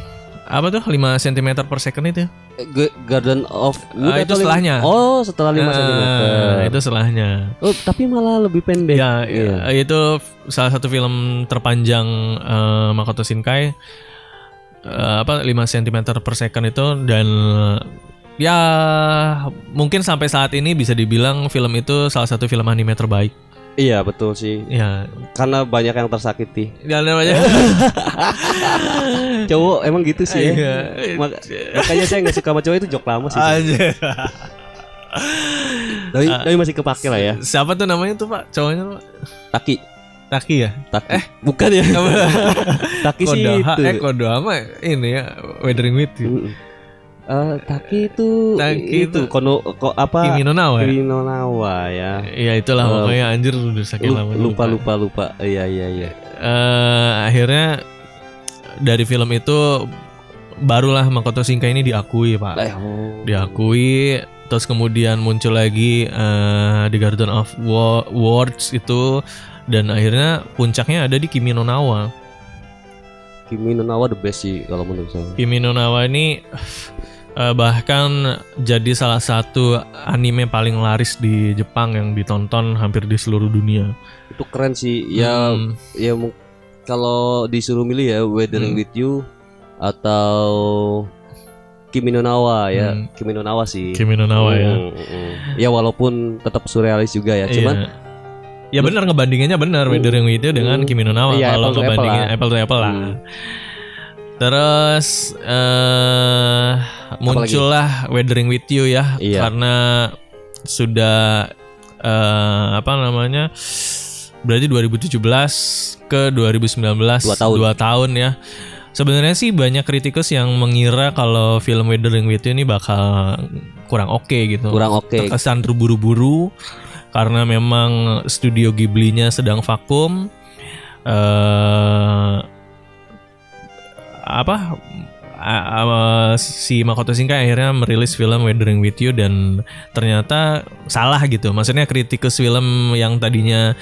[SPEAKER 3] apa tuh 5 cm per second itu
[SPEAKER 2] G- Garden of Wood
[SPEAKER 3] Ah, itu
[SPEAKER 2] atau lima-
[SPEAKER 3] setelahnya.
[SPEAKER 2] Oh, setelah 5
[SPEAKER 3] Nah,
[SPEAKER 2] cm.
[SPEAKER 3] itu selahnya
[SPEAKER 2] Oh, tapi malah lebih pendek.
[SPEAKER 3] ya
[SPEAKER 2] Iya.
[SPEAKER 3] eh, itu salah satu film terpanjang eh, Makoto Shinkai Eh, apa 5 cm per second itu dan eh, ya mungkin sampai saat ini bisa dibilang film itu salah satu film anime terbaik
[SPEAKER 2] Iya, betul sih.
[SPEAKER 3] ya
[SPEAKER 2] Karena banyak yang tersakiti.
[SPEAKER 3] dan
[SPEAKER 2] [laughs]
[SPEAKER 3] namanya
[SPEAKER 2] Cowok emang gitu sih
[SPEAKER 3] Iya. Ah,
[SPEAKER 2] ya. Mak- makanya saya nggak suka sama cowok itu jok lama sih.
[SPEAKER 3] Anjir.
[SPEAKER 2] Tapi,
[SPEAKER 3] ah.
[SPEAKER 2] tapi masih kepake lah ya.
[SPEAKER 3] Siapa tuh namanya tuh Pak? Cowoknya tuh Pak?
[SPEAKER 2] Taki,
[SPEAKER 3] Taki ya?
[SPEAKER 2] Taki. bukan ya. Taki sih
[SPEAKER 3] Kodoha,
[SPEAKER 2] itu.
[SPEAKER 3] eh Kodoha mah ini ya Weathering with you.
[SPEAKER 2] Mm. Eh, taki itu
[SPEAKER 3] Taki
[SPEAKER 2] itu
[SPEAKER 3] itu-
[SPEAKER 2] kono ko, apa
[SPEAKER 3] Kimi no Na wa ya?
[SPEAKER 2] Kimi no na wa ya.
[SPEAKER 3] Iya itulah
[SPEAKER 2] Eh,
[SPEAKER 3] pokoknya anjir udah sakit lama.
[SPEAKER 2] Lupa lupa lupa. Iya iya iya.
[SPEAKER 3] Eh, akhirnya dari film itu barulah Makoto Shinkai ini diakui Pak.
[SPEAKER 2] Eh, oh.
[SPEAKER 3] Diakui terus kemudian muncul lagi eh, The Garden of Wo- Words itu dan akhirnya puncaknya ada di Kimi no Na wa.
[SPEAKER 2] Kimi no na wa the best sih kalau menurut saya.
[SPEAKER 3] Kimi no Na wa ini eh, bahkan jadi salah satu anime paling laris di Jepang yang ditonton hampir di seluruh dunia.
[SPEAKER 2] Itu keren sih. Ya
[SPEAKER 3] Hmm,
[SPEAKER 2] ya mu- kalau disuruh milih ya Weathering
[SPEAKER 3] Hmm.
[SPEAKER 2] with You atau Kimi no na wa ya.
[SPEAKER 3] Hmm.
[SPEAKER 2] Kimi no na wa sih.
[SPEAKER 3] Kimi no Na wa ya.
[SPEAKER 2] Mm, mm, mm. Ya walaupun tetap surrealis juga ya, cuman
[SPEAKER 3] Iya. ya benar ngebandinginnya benar
[SPEAKER 2] Hmm.
[SPEAKER 3] Weathering with You gitu ya dengan
[SPEAKER 2] Hmm.
[SPEAKER 3] Kimi no Na wa
[SPEAKER 2] Iya,
[SPEAKER 3] kalau
[SPEAKER 2] apple to apple
[SPEAKER 3] ngebandingin
[SPEAKER 2] lah.
[SPEAKER 3] apple to apple lah.
[SPEAKER 2] Hmm.
[SPEAKER 3] Terus eh muncullah Weathering with You ya
[SPEAKER 2] Iya.
[SPEAKER 3] karena sudah eh, apa namanya? Berarti 2017 ke 2019
[SPEAKER 2] Dua tahun.
[SPEAKER 3] dua tahun ya. Sebenarnya sih banyak kritikus yang mengira kalau film Weathering with You ini bakal kurang oke gitu
[SPEAKER 2] kurang oke.
[SPEAKER 3] terkesan terburu-buru karena memang studio Ghibli-nya sedang vakum. eh apa a- a- si Makoto Shinkai akhirnya merilis film Weathering with You dan ternyata salah gitu. Maksudnya kritikus film yang tadinya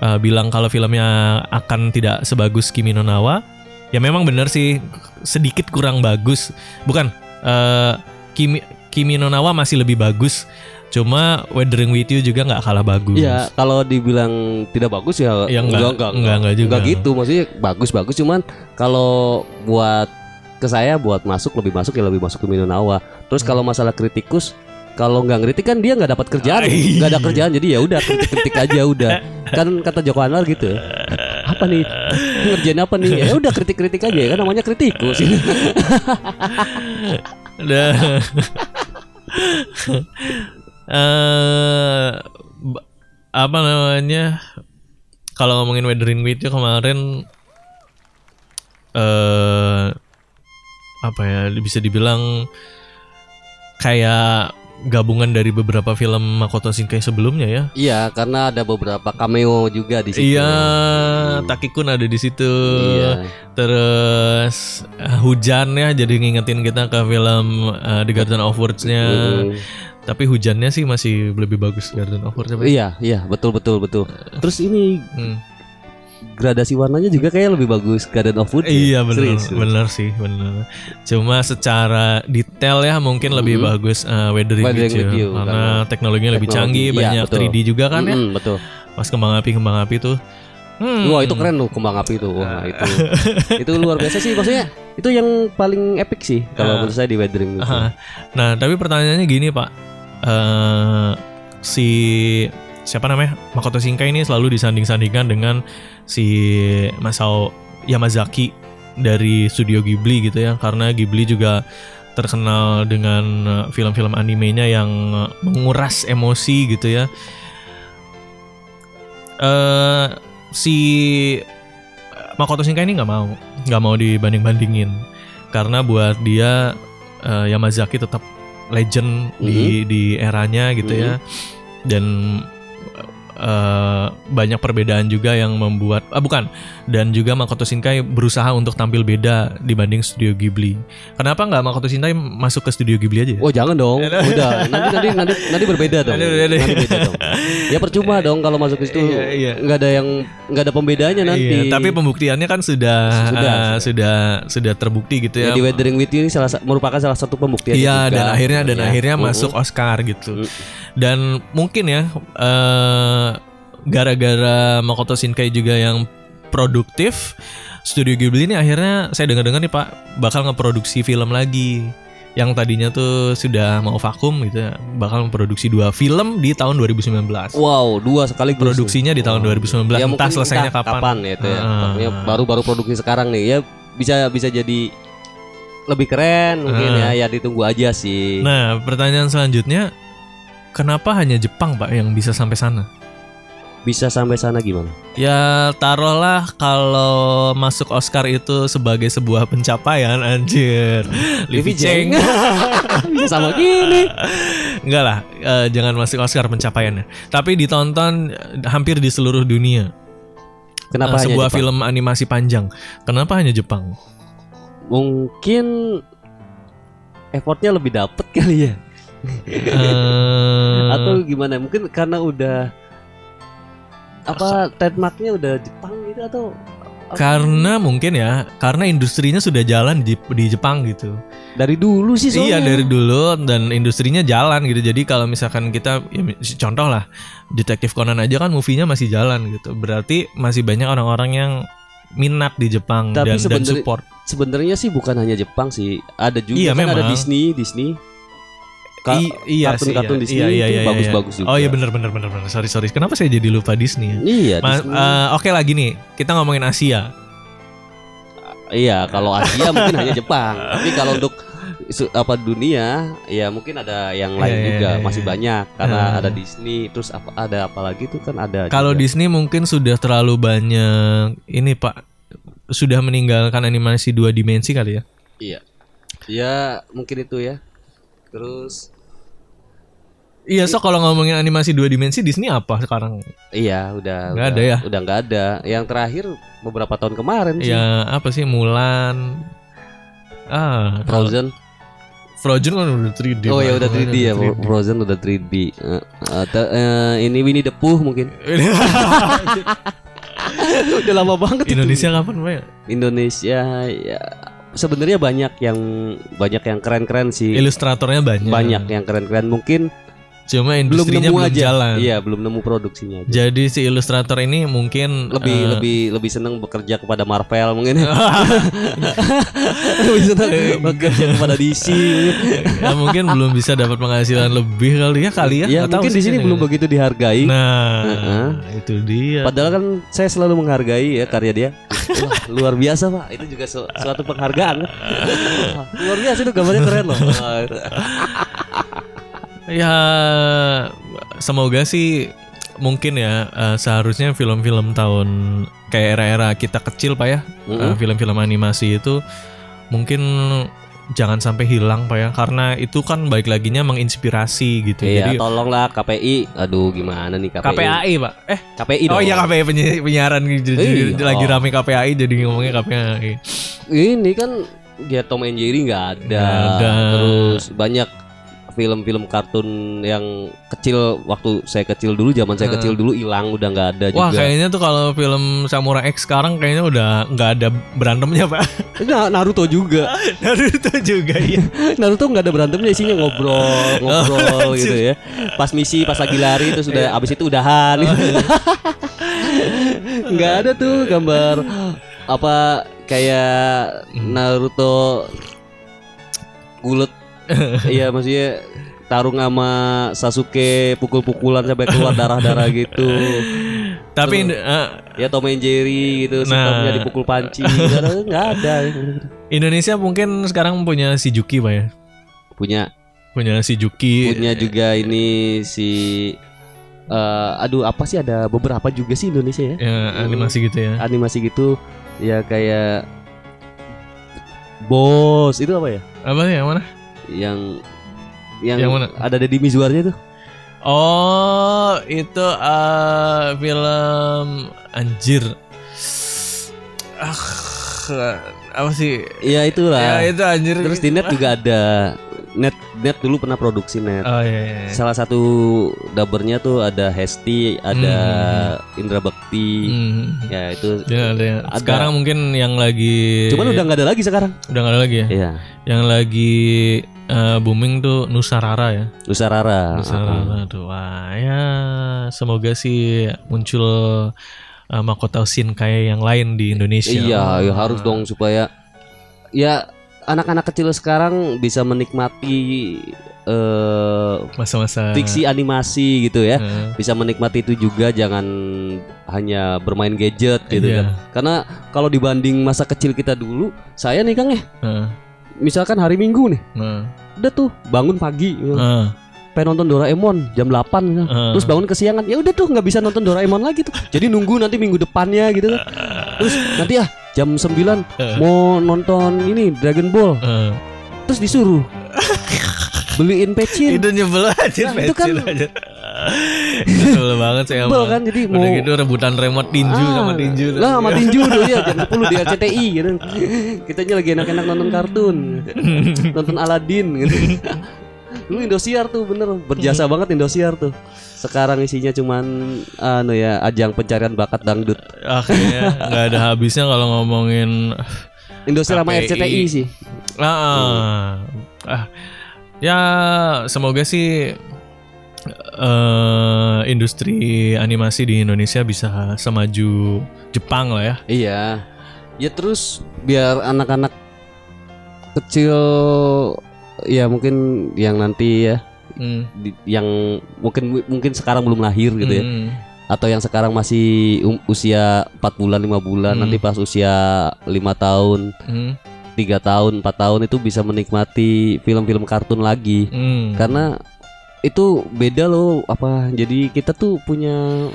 [SPEAKER 3] eh, bilang kalau filmnya akan tidak sebagus Kimi no Na wa, ya memang benar sih sedikit kurang bagus. Bukan eh Kimi Kimi no Na wa masih lebih bagus. Cuma Weathering with You juga nggak kalah bagus.
[SPEAKER 2] Ya kalau dibilang tidak bagus ya,
[SPEAKER 3] Ya, Iya. enggak. Enggak, enggak juga.
[SPEAKER 2] gitu maksudnya bagus-bagus cuman kalau
[SPEAKER 3] Hmm.
[SPEAKER 2] buat ke saya buat masuk lebih masuk ya lebih masuk ke Minonawa. Terus kalau masalah kritikus kalau nggak ngeritik kan dia nggak dapat kerjaan nggak ada kerjaan jadi ya udah kritik kritik aja udah kan kata Joko Anwar gitu apa nih ngerjain apa nih ya udah kritik kritik aja kan namanya
[SPEAKER 3] [laughs]
[SPEAKER 2] kritikus [laughs]
[SPEAKER 3] Udah. eh ba- apa namanya? Kalau ngomongin weathering with you kemarin eh apa ya bisa dibilang kayak gabungan dari beberapa film Makoto Shinkai sebelumnya ya.
[SPEAKER 2] iya karena ada beberapa cameo juga di situ
[SPEAKER 3] Iya, Takikun ada di situ.
[SPEAKER 2] Iya.
[SPEAKER 3] Terus eh, hujannya jadi ngingetin kita ke film eh, The Garden of Words-nya.
[SPEAKER 2] Mm.
[SPEAKER 3] Tapi hujannya sih masih lebih bagus Garden of Words.
[SPEAKER 2] Iya, iya, betul betul betul. Terus ini
[SPEAKER 3] Hmm.
[SPEAKER 2] gradasi warnanya juga kayak lebih bagus Garden of Wood. ya?
[SPEAKER 3] Iya benar,
[SPEAKER 2] Serius, serius.
[SPEAKER 3] benar sih, benar. Cuma secara detail ya mungkin lebih
[SPEAKER 2] Mhm.
[SPEAKER 3] bagus eh, Weathering
[SPEAKER 2] Weathering
[SPEAKER 3] with You,
[SPEAKER 2] with You,
[SPEAKER 3] karena
[SPEAKER 2] karena
[SPEAKER 3] teknologinya lebih
[SPEAKER 2] teknologi.
[SPEAKER 3] canggih,
[SPEAKER 2] Iya,
[SPEAKER 3] banyak
[SPEAKER 2] betul.
[SPEAKER 3] 3D juga kan ya.
[SPEAKER 2] Mm-mm, betul.
[SPEAKER 3] Pas kembang api kembang api tuh. Hmm.
[SPEAKER 2] Wah, itu keren loh kembang api itu.
[SPEAKER 3] Ah.
[SPEAKER 2] Wah, itu. itu luar biasa sih maksudnya. Itu yang paling epic sih
[SPEAKER 3] Ah.
[SPEAKER 2] kalau menurut saya di Weathering itu.
[SPEAKER 3] Aha. Nah, tapi pertanyaannya gini, Pak. Eh si siapa namanya? Makoto Shinkai ini selalu disanding-sandingkan dengan si Masao Yamazaki dari studio Ghibli gitu ya, karena Ghibli juga terkenal dengan eh, film-film animenya yang eh, menguras emosi gitu ya. Eh si Makoto Shinkai ini nggak mau, nggak mau dibanding-bandingin karena buat dia eh, Yamazaki tetap legend di di eranya gitu ya
[SPEAKER 2] Hmm.
[SPEAKER 3] dan eh, banyak perbedaan juga yang membuat ah bukan dan juga Makoto Shinkai berusaha untuk tampil beda dibanding studio Ghibli kenapa nggak Makoto Shinkai masuk ke studio Ghibli aja ya?
[SPEAKER 2] Oh jangan dong, udah nanti nanti nanti nanti berbeda dong,
[SPEAKER 3] Nanti berbeda.
[SPEAKER 2] nanti beda dong. Ya
[SPEAKER 3] [laughs]
[SPEAKER 2] percuma dong kalau masuk ke situ
[SPEAKER 3] Iya, iya.
[SPEAKER 2] nggak ada yang nggak ada pembedanya nanti.
[SPEAKER 3] Iya, tapi pembuktiannya kan sudah
[SPEAKER 2] Sudah,
[SPEAKER 3] eh, sudah sudah, terbukti gitu ya.
[SPEAKER 2] Ya, di Weathering with You ini salah, sa- merupakan salah satu pembuktian.
[SPEAKER 3] Iya
[SPEAKER 2] juga.
[SPEAKER 3] dan akhirnya uh-huh. dan
[SPEAKER 2] Ya.
[SPEAKER 3] akhirnya
[SPEAKER 2] Mm-mm.
[SPEAKER 3] masuk Oscar gitu.
[SPEAKER 2] Mm.
[SPEAKER 3] Dan mungkin ya eh, gara-gara Makoto Shinkai juga yang produktif, Studio Ghibli ini akhirnya saya dengar-dengar nih Pak bakal ngeproduksi film lagi yang tadinya tuh sudah mau vakum gitu ya, bakal memproduksi dua film di tahun 2019.
[SPEAKER 2] Wow, dua sekali
[SPEAKER 3] Produksinya di tahun 2019
[SPEAKER 2] Ya,
[SPEAKER 3] entah
[SPEAKER 2] mungkin
[SPEAKER 3] selesainya
[SPEAKER 2] entah
[SPEAKER 3] kapan. Ah.
[SPEAKER 2] kapan ya itu ya.
[SPEAKER 3] Heeh.
[SPEAKER 2] Pokoknya baru-baru produksi sekarang nih ya bisa bisa jadi lebih keren mungkin ya ya ditunggu aja
[SPEAKER 3] Ah.
[SPEAKER 2] sih.
[SPEAKER 3] Nah, pertanyaan selanjutnya kenapa hanya Jepang Pak yang bisa sampai sana?
[SPEAKER 2] Bisa sampai sana gimana?
[SPEAKER 3] Ya taruhlah kalau masuk Oscar itu sebagai sebuah pencapaian anjir. Livi Cheng.
[SPEAKER 2] [laughs] bisa sama gini.
[SPEAKER 3] Enggak lah, eh, jangan masuk Oscar pencapaiannya. Tapi ditonton eh, hampir di seluruh dunia.
[SPEAKER 2] Kenapa
[SPEAKER 3] Eh,
[SPEAKER 2] hanya
[SPEAKER 3] sebuah
[SPEAKER 2] Jepang?
[SPEAKER 3] film animasi panjang. Kenapa hanya Jepang?
[SPEAKER 2] Mungkin effortnya lebih dapet kali ya.
[SPEAKER 3] Eh,
[SPEAKER 2] Atau gimana? Mungkin karena udah apa trademarknya udah Jepang gitu atau
[SPEAKER 3] karena mungkin ya, karena industrinya sudah jalan di, di Jepang gitu.
[SPEAKER 2] dari dulu sih
[SPEAKER 3] Iya
[SPEAKER 2] soalnya.
[SPEAKER 3] dari dulu dan industrinya jalan gitu. Jadi kalau misalkan kita ya, mi- contoh lah Detektif Conan aja kan movie-nya masih jalan gitu. Berarti masih banyak orang-orang yang minat di Jepang dan
[SPEAKER 2] Tapi
[SPEAKER 3] dan
[SPEAKER 2] sebenarnya-
[SPEAKER 3] support.
[SPEAKER 2] Sebenarnya sih bukan hanya Jepang sih, ada juga
[SPEAKER 3] Iya,
[SPEAKER 2] kan ada
[SPEAKER 3] memang.
[SPEAKER 2] Disney, Disney. Ka-
[SPEAKER 3] I- iya sih,
[SPEAKER 2] kartun-kartun
[SPEAKER 3] iya.
[SPEAKER 2] Disney
[SPEAKER 3] Iya, iya,
[SPEAKER 2] itu
[SPEAKER 3] iya, iya.
[SPEAKER 2] bagus-bagus juga.
[SPEAKER 3] Oh iya benar benar benar benar. Sorry sorry. Kenapa saya jadi lupa Disney? ya?
[SPEAKER 2] Iya,
[SPEAKER 3] Ma-
[SPEAKER 2] Disney.
[SPEAKER 3] eh, Oke lah gini, kita ngomongin Asia.
[SPEAKER 2] iya, kalau Asia mungkin hanya Jepang, tapi kalau untuk su- apa dunia ya mungkin ada yang lain
[SPEAKER 3] Iya, iya,
[SPEAKER 2] juga
[SPEAKER 3] iya,
[SPEAKER 2] masih
[SPEAKER 3] iya.
[SPEAKER 2] banyak karena
[SPEAKER 3] Nah.
[SPEAKER 2] ada Disney terus apa ada apa lagi tuh kan ada
[SPEAKER 3] Kalau
[SPEAKER 2] juga.
[SPEAKER 3] Disney mungkin sudah terlalu banyak ini Pak sudah meninggalkan animasi dua dimensi kali ya.
[SPEAKER 2] iya ya mungkin itu ya terus
[SPEAKER 3] Iya, so kalau ngomongin animasi dua dimensi Disney apa sekarang?
[SPEAKER 2] iya udah
[SPEAKER 3] Nggak
[SPEAKER 2] udah-
[SPEAKER 3] ada ya?
[SPEAKER 2] udah nggak ada yang terakhir beberapa tahun kemarin sih
[SPEAKER 3] Ya apa sih Mulan Ah
[SPEAKER 2] Frozen
[SPEAKER 3] Frozen kan udah 3D
[SPEAKER 2] Oh ya
[SPEAKER 3] Pak.
[SPEAKER 2] udah 3D ya,
[SPEAKER 3] Udah
[SPEAKER 2] Frozen udah 3D. Eh, eh, te- eh, ini Winnie the Pooh
[SPEAKER 3] [laughs]
[SPEAKER 2] mungkin.
[SPEAKER 3] 3D.
[SPEAKER 2] udah lama banget. itu.
[SPEAKER 3] [laughs] Indonesia kapan Pak? ya?
[SPEAKER 2] Indonesia ya sebenarnya banyak yang banyak yang keren-keren sih.
[SPEAKER 3] Ilustratornya banyak
[SPEAKER 2] Banyak yang keren-keren mungkin
[SPEAKER 3] Cuma
[SPEAKER 2] belum
[SPEAKER 3] Iya. industrinya
[SPEAKER 2] nemu
[SPEAKER 3] belum,
[SPEAKER 2] aja.
[SPEAKER 3] jalan. Eh.
[SPEAKER 2] Iya, belum nemu produksinya. aja.
[SPEAKER 3] Jadi si ilustrator ini mungkin
[SPEAKER 2] Lebih
[SPEAKER 3] eh,
[SPEAKER 2] lebih lebih seneng bekerja kepada Marvel mungkin. lebih seneng bekerja kepada DC.
[SPEAKER 3] [laughs] ya mungkin belum bisa dapat penghasilan lebih kali ya kali ya.
[SPEAKER 2] Ya,
[SPEAKER 3] Nggak tahu
[SPEAKER 2] mungkin
[SPEAKER 3] sih
[SPEAKER 2] di sini
[SPEAKER 3] kan
[SPEAKER 2] belum
[SPEAKER 3] ya.
[SPEAKER 2] begitu dihargai.
[SPEAKER 3] Nah,
[SPEAKER 2] Heeh.
[SPEAKER 3] itu dia.
[SPEAKER 2] Padahal kan saya selalu menghargai ya karya dia. Wah, luar biasa pak, itu juga su- suatu
[SPEAKER 3] [laughs]
[SPEAKER 2] penghargaan. Wah, luar biasa itu gambarnya keren loh. Wah, itu.
[SPEAKER 3] Ya semoga sih mungkin ya eh, seharusnya film-film tahun kayak era-era kita kecil Pak ya. Eh,
[SPEAKER 2] Mm-mm.
[SPEAKER 3] Film-film animasi itu mungkin jangan sampai hilang Pak ya karena itu kan baik laginya menginspirasi gitu. Jadi
[SPEAKER 2] Iya, tolonglah KPI. Aduh, gimana nih KPI?
[SPEAKER 3] KPAI Pak. Eh
[SPEAKER 2] KPI dong.
[SPEAKER 3] Oh iya KPI penyi- penyiaran gitu. Jadi
[SPEAKER 2] Iya.
[SPEAKER 3] lagi rame KPAI jadi ngomongnya KPAI.
[SPEAKER 2] Ini kan ya Tom and Jerry nggak ada.
[SPEAKER 3] Nggak ada.
[SPEAKER 2] Terus banyak film-film kartun yang kecil waktu saya kecil dulu, zaman saya kecil dulu hilang udah nggak ada
[SPEAKER 3] Wah
[SPEAKER 2] juga.
[SPEAKER 3] kayaknya tuh kalau film Samurai X sekarang kayaknya udah nggak ada berantemnya Pak. [laughs]
[SPEAKER 2] Nah, Naruto juga.
[SPEAKER 3] Naruto juga ya.
[SPEAKER 2] Naruto nggak ada berantemnya isinya ngobrol ngobrol gitu ya pas misi pas lagi lari terus udah abis itu udahan [laughs] nggak ada tuh gambar apa kayak Naruto gulet iya maksudnya tarung sama Sasuke pukul-pukulan sampai keluar darah-darah gitu
[SPEAKER 3] Tapi eh,
[SPEAKER 2] ya Tom and Jerry gitu
[SPEAKER 3] Nah.
[SPEAKER 2] sikapnya dipukul panci nggak ada- nggak ada
[SPEAKER 3] Indonesia mungkin sekarang punya si Juki pak ya
[SPEAKER 2] punya
[SPEAKER 3] punya si Juki
[SPEAKER 2] punya juga ini si eh, aduh apa sih ada beberapa juga sih Indonesia ya
[SPEAKER 3] ya, animasi gitu ya
[SPEAKER 2] animasi gitu ya kayak bos itu apa ya
[SPEAKER 3] apa sih yang mana
[SPEAKER 2] yang yang,
[SPEAKER 3] Yang mana?
[SPEAKER 2] ada Deddy Mizwarnya tuh
[SPEAKER 3] oh itu eh, film anjir ah apa sih
[SPEAKER 2] ya itulah
[SPEAKER 3] ya itu anjir
[SPEAKER 2] terus di net gitu. juga ada net net dulu pernah produksi net
[SPEAKER 3] oh iya, iya.
[SPEAKER 2] salah satu dabernya tuh ada Hesti ada Indra Bekti
[SPEAKER 3] Hmm.
[SPEAKER 2] Hmm. ya itu
[SPEAKER 3] Ya, ada yang-
[SPEAKER 2] Ada.
[SPEAKER 3] sekarang mungkin yang lagi
[SPEAKER 2] cuman udah nggak ada lagi sekarang
[SPEAKER 3] udah nggak ada lagi ya
[SPEAKER 2] Iya
[SPEAKER 3] yang lagi eh, booming tuh Nusarara ya
[SPEAKER 2] Iya, Nusarara
[SPEAKER 3] Sarana tuh. Wah, ya semoga sih muncul uh, mahkota Shinkai yang lain di Indonesia.
[SPEAKER 2] Iya, ya harus dong supaya ya anak-anak kecil sekarang bisa menikmati eh
[SPEAKER 3] Masa-masa
[SPEAKER 2] fiksi animasi gitu ya.
[SPEAKER 3] eh,
[SPEAKER 2] Bisa menikmati itu juga jangan hanya bermain gadget gitu
[SPEAKER 3] Iya.
[SPEAKER 2] kan. Karena kalau dibanding masa kecil kita dulu, saya nih Kang ya,
[SPEAKER 3] eh,
[SPEAKER 2] misalkan hari Minggu nih,
[SPEAKER 3] eh,
[SPEAKER 2] udah tuh bangun pagi gitu.
[SPEAKER 3] eh,
[SPEAKER 2] pengen nonton Doraemon jam 8 gitu.
[SPEAKER 3] eh.
[SPEAKER 2] Terus bangun kesiangan, ya udah tuh nggak bisa nonton Doraemon lagi tuh. Jadi nunggu nanti minggu depannya gitu. tuh. Terus nanti ah jam 9 mau nonton ini Dragon Ball.
[SPEAKER 3] Eh,
[SPEAKER 2] Terus disuruh beliin pecin.
[SPEAKER 3] itu nyebel aja,
[SPEAKER 2] Nah, itu
[SPEAKER 3] pecil
[SPEAKER 2] kan-
[SPEAKER 3] aja. Sebel banget saya
[SPEAKER 2] Bel
[SPEAKER 3] emang.
[SPEAKER 2] kan jadi mau
[SPEAKER 3] ya, Udah gitu rebutan remote tinju
[SPEAKER 2] Ah,
[SPEAKER 3] sama tinju. Iya.
[SPEAKER 2] Lah sama tinju tuh ya jam 10 di RCTI gitu. Kitanya lagi enak-enak nonton
[SPEAKER 3] [laughs]
[SPEAKER 2] kartun. nonton Aladin gitu. Dulu Indosiar tuh bener berjasa banget Indosiar tuh. Sekarang isinya cuman anu ya ajang pencarian bakat dangdut.
[SPEAKER 3] Ah, kayaknya nggak ada habisnya kalau ngomongin
[SPEAKER 2] Indosiar sama
[SPEAKER 3] KPI.
[SPEAKER 2] RCTI sih.
[SPEAKER 3] Ah, ah. ya semoga sih eh industri animasi di Indonesia bisa semaju Jepang lah ya.
[SPEAKER 2] Iya. Ya terus biar anak-anak kecil ya mungkin yang nanti ya
[SPEAKER 3] Hmm.
[SPEAKER 2] di- yang mungkin mungkin sekarang belum lahir gitu ya
[SPEAKER 3] Hmm.
[SPEAKER 2] atau yang sekarang masih um- usia 4 bulan, 5 bulan,
[SPEAKER 3] Hmm.
[SPEAKER 2] nanti pas usia 5 tahun,
[SPEAKER 3] Hmm.
[SPEAKER 2] 3 tahun, 4 tahun itu bisa menikmati film-film kartun lagi.
[SPEAKER 3] Hmm.
[SPEAKER 2] Karena itu beda loh apa. Jadi kita tuh punya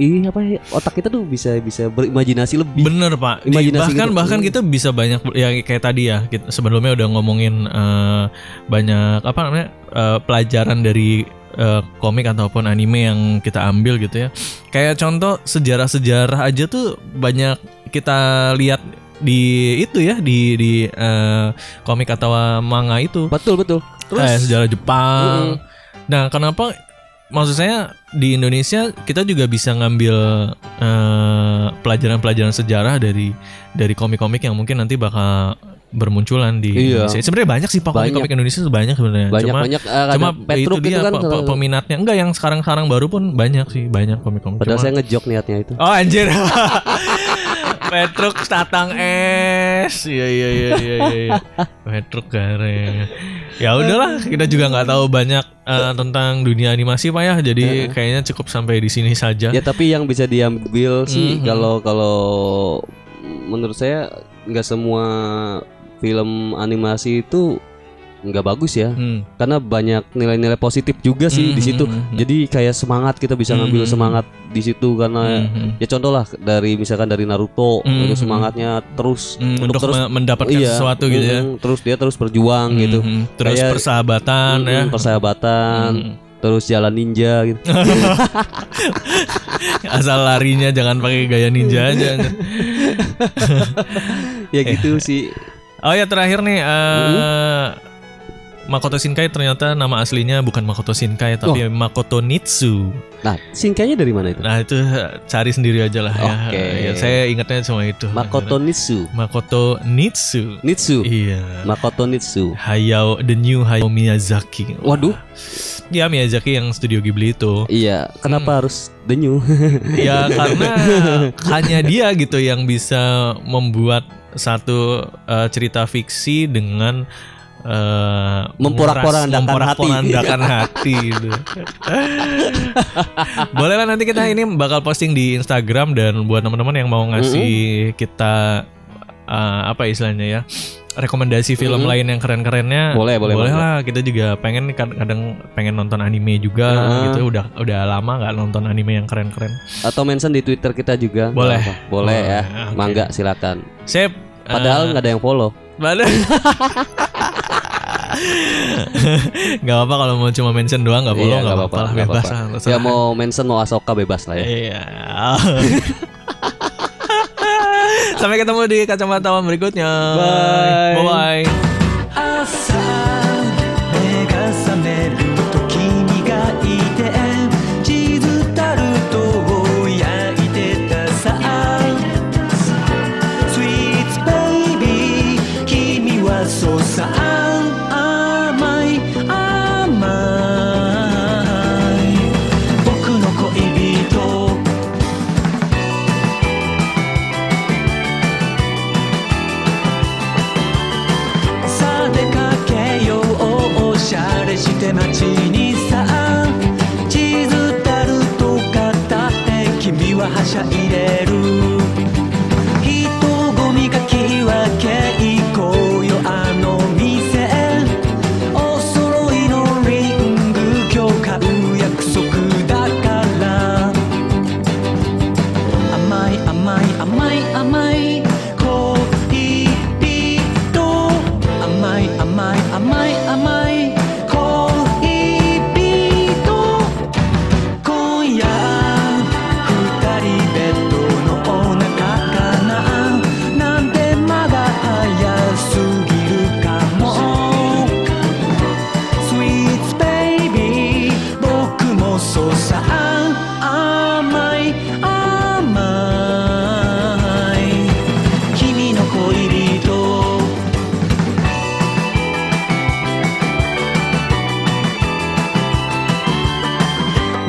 [SPEAKER 2] ini apa ya, otak kita tuh bisa bisa berimajinasi lebih.
[SPEAKER 3] Bener pak. Di-
[SPEAKER 2] Imajinasi
[SPEAKER 3] bahkan
[SPEAKER 2] gitu.
[SPEAKER 3] bahkan
[SPEAKER 2] Hmm.
[SPEAKER 3] kita bisa banyak ya kayak tadi ya. Kita sebelumnya udah ngomongin eh, banyak apa namanya eh, pelajaran dari eh, komik ataupun anime yang kita ambil gitu ya. Kayak contoh sejarah-sejarah aja tuh banyak kita lihat di itu ya di di eh, komik atau manga itu.
[SPEAKER 2] Betul betul.
[SPEAKER 3] Kayak
[SPEAKER 2] Terus
[SPEAKER 3] sejarah Jepang. Eh, Nah, kenapa maksud saya di Indonesia kita juga bisa ngambil eh, pelajaran-pelajaran sejarah dari dari komik-komik yang mungkin nanti bakal bermunculan di
[SPEAKER 2] Iya.
[SPEAKER 3] Indonesia. Sebenarnya banyak sih Pak
[SPEAKER 2] Banyak.
[SPEAKER 3] komik-komik Indonesia tuh banyak sebenarnya.
[SPEAKER 2] banyak
[SPEAKER 3] Cuma
[SPEAKER 2] banyak eh, ada
[SPEAKER 3] cuma
[SPEAKER 2] Petruk
[SPEAKER 3] itu dia
[SPEAKER 2] kan
[SPEAKER 3] pe- pe- peminatnya enggak yang sekarang-sekarang baru pun banyak sih banyak komik-komik.
[SPEAKER 2] padahal
[SPEAKER 3] Cuma-
[SPEAKER 2] saya ngejok niatnya itu
[SPEAKER 3] Oh anjir. [laughs] Petruk Tatang es. Iya iya iya iya iya. iya. Petruk Gareng. Ya udahlah, kita juga nggak tahu banyak eh, tentang dunia animasi Pak ya.
[SPEAKER 2] Iya,
[SPEAKER 3] Jadi kayaknya cukup sampai di sini saja.
[SPEAKER 2] ya tapi yang bisa diambil sih
[SPEAKER 3] Mhm.
[SPEAKER 2] kalau kalau menurut saya nggak semua film animasi itu nggak bagus ya
[SPEAKER 3] Hmm.
[SPEAKER 2] karena banyak nilai-nilai positif juga sih di
[SPEAKER 3] Mhm,
[SPEAKER 2] situ.
[SPEAKER 3] mhm.
[SPEAKER 2] Jadi kayak semangat kita bisa ngambil
[SPEAKER 3] Mhm.
[SPEAKER 2] semangat di situ karena
[SPEAKER 3] Mhm.
[SPEAKER 2] ya contoh lah dari misalkan dari Naruto
[SPEAKER 3] Mhm.
[SPEAKER 2] itu semangatnya terus
[SPEAKER 3] Hmm, untuk
[SPEAKER 2] terus
[SPEAKER 3] me- mendapatkan
[SPEAKER 2] iya,
[SPEAKER 3] sesuatu gitu ya.
[SPEAKER 2] mhm, Terus dia terus berjuang gitu.
[SPEAKER 3] Mhm. Terus
[SPEAKER 2] Kayak-
[SPEAKER 3] persahabatan
[SPEAKER 2] Mhm,
[SPEAKER 3] ya.
[SPEAKER 2] persahabatan,
[SPEAKER 3] Mhm.
[SPEAKER 2] terus jalan ninja
[SPEAKER 3] [laughs]
[SPEAKER 2] gitu. [laughs]
[SPEAKER 3] Asal larinya jangan pakai gaya ninja aja.
[SPEAKER 2] ya gitu sih.
[SPEAKER 3] Oh ya terakhir nih
[SPEAKER 2] Mm-hmm.
[SPEAKER 3] eh Makoto Shinkai ternyata nama aslinya bukan Makoto Shinkai tapi
[SPEAKER 2] Oh.
[SPEAKER 3] Makoto Nitsu.
[SPEAKER 2] Nah, singkanya dari mana itu?
[SPEAKER 3] Nah itu eh, cari sendiri aja lah ya.
[SPEAKER 2] Oke.
[SPEAKER 3] Ya, saya ingatnya cuma itu.
[SPEAKER 2] Makoto Nitsu.
[SPEAKER 3] Makoto Nitsu.
[SPEAKER 2] Nitsu.
[SPEAKER 3] Iya.
[SPEAKER 2] Makoto Nitsu.
[SPEAKER 3] Hayao the new Hayao Miyazaki.
[SPEAKER 2] Waduh,
[SPEAKER 3] Ya Miyazaki yang studio Ghibli itu.
[SPEAKER 2] iya.
[SPEAKER 3] Hmm.
[SPEAKER 2] Kenapa harus The New?
[SPEAKER 3] ya karena hanya dia gitu yang bisa membuat satu eh, cerita fiksi dengan eh,
[SPEAKER 2] Memporak-porandakan
[SPEAKER 3] menguras- memporak-porandakan hati gitu. [laughs] Boleh lah nanti kita ini bakal posting di Instagram dan buat teman-teman yang mau ngasih kita eh, apa istilahnya ya rekomendasi film
[SPEAKER 2] Mm-mm.
[SPEAKER 3] lain yang keren-kerennya
[SPEAKER 2] Boleh, boleh,
[SPEAKER 3] boleh
[SPEAKER 2] boleh.
[SPEAKER 3] lah kita juga pengen kad- kadang pengen nonton anime juga
[SPEAKER 2] Heeh.
[SPEAKER 3] gitu udah udah lama nggak nonton anime yang keren-keren
[SPEAKER 2] [laughs] Atau mention di Twitter kita juga. Nggak
[SPEAKER 3] Boleh.
[SPEAKER 2] apa-apa. Boleh ya.
[SPEAKER 3] Boleh, oke. Eh,
[SPEAKER 2] Mangga silakan.
[SPEAKER 3] Sip.
[SPEAKER 2] Padahal nggak ada yang follow. Iya, [laughs]
[SPEAKER 3] Padahal. gak apa kalau mau cuma mention doang gak follow
[SPEAKER 2] Iya,
[SPEAKER 3] gak
[SPEAKER 2] nggak
[SPEAKER 3] apa-apa lah
[SPEAKER 2] nggak
[SPEAKER 3] bebas
[SPEAKER 2] apa-apa.
[SPEAKER 3] lah
[SPEAKER 2] Ya
[SPEAKER 3] terserah.
[SPEAKER 2] mau mention mau Asoka bebas lah ya.
[SPEAKER 3] Iya. [laughs] Sampai ketemu di kacamata Tawan berikutnya.
[SPEAKER 2] Bye.
[SPEAKER 3] Bye. Bye.
[SPEAKER 1] 朝目が覚めると君がいてチーズタルトを焼いてたさスイーツベイビー君はそうさ甘い甘い僕の恋人さあ出かけようおしゃれして街にさチーズタルト片手君ははしゃいでる人混みがき分け行こうよあの店お揃いのリング今日買う約束だから甘い甘い甘い甘い恋人甘い甘い甘い甘い恋人今夜二人ベッドのお腹かななんてまだ早すぎるかも Sweet baby 僕もそうさ甘い甘い君の恋人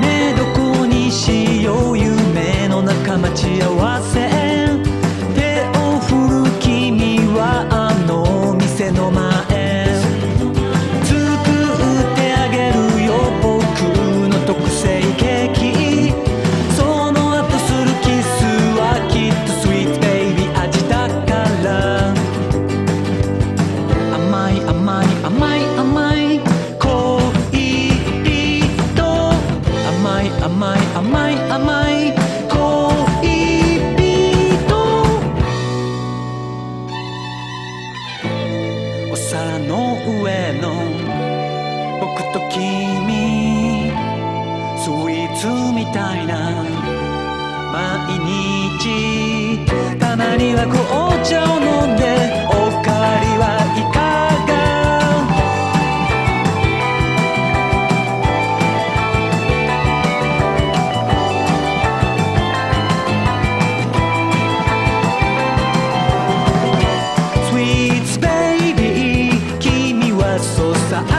[SPEAKER 1] ねえどこにしよう夢の中待ち合わせ手を振る君はあの店の前作ってあげるよ僕の特製ケーキその後するキスはきっとスイーツベイビー味だから甘い甘い甘い甘い恋人甘い甘い甘い甘い恋人お皿の上の僕と君スイーツみたいな毎日たまには紅茶を飲んでおかわりはいかがそさ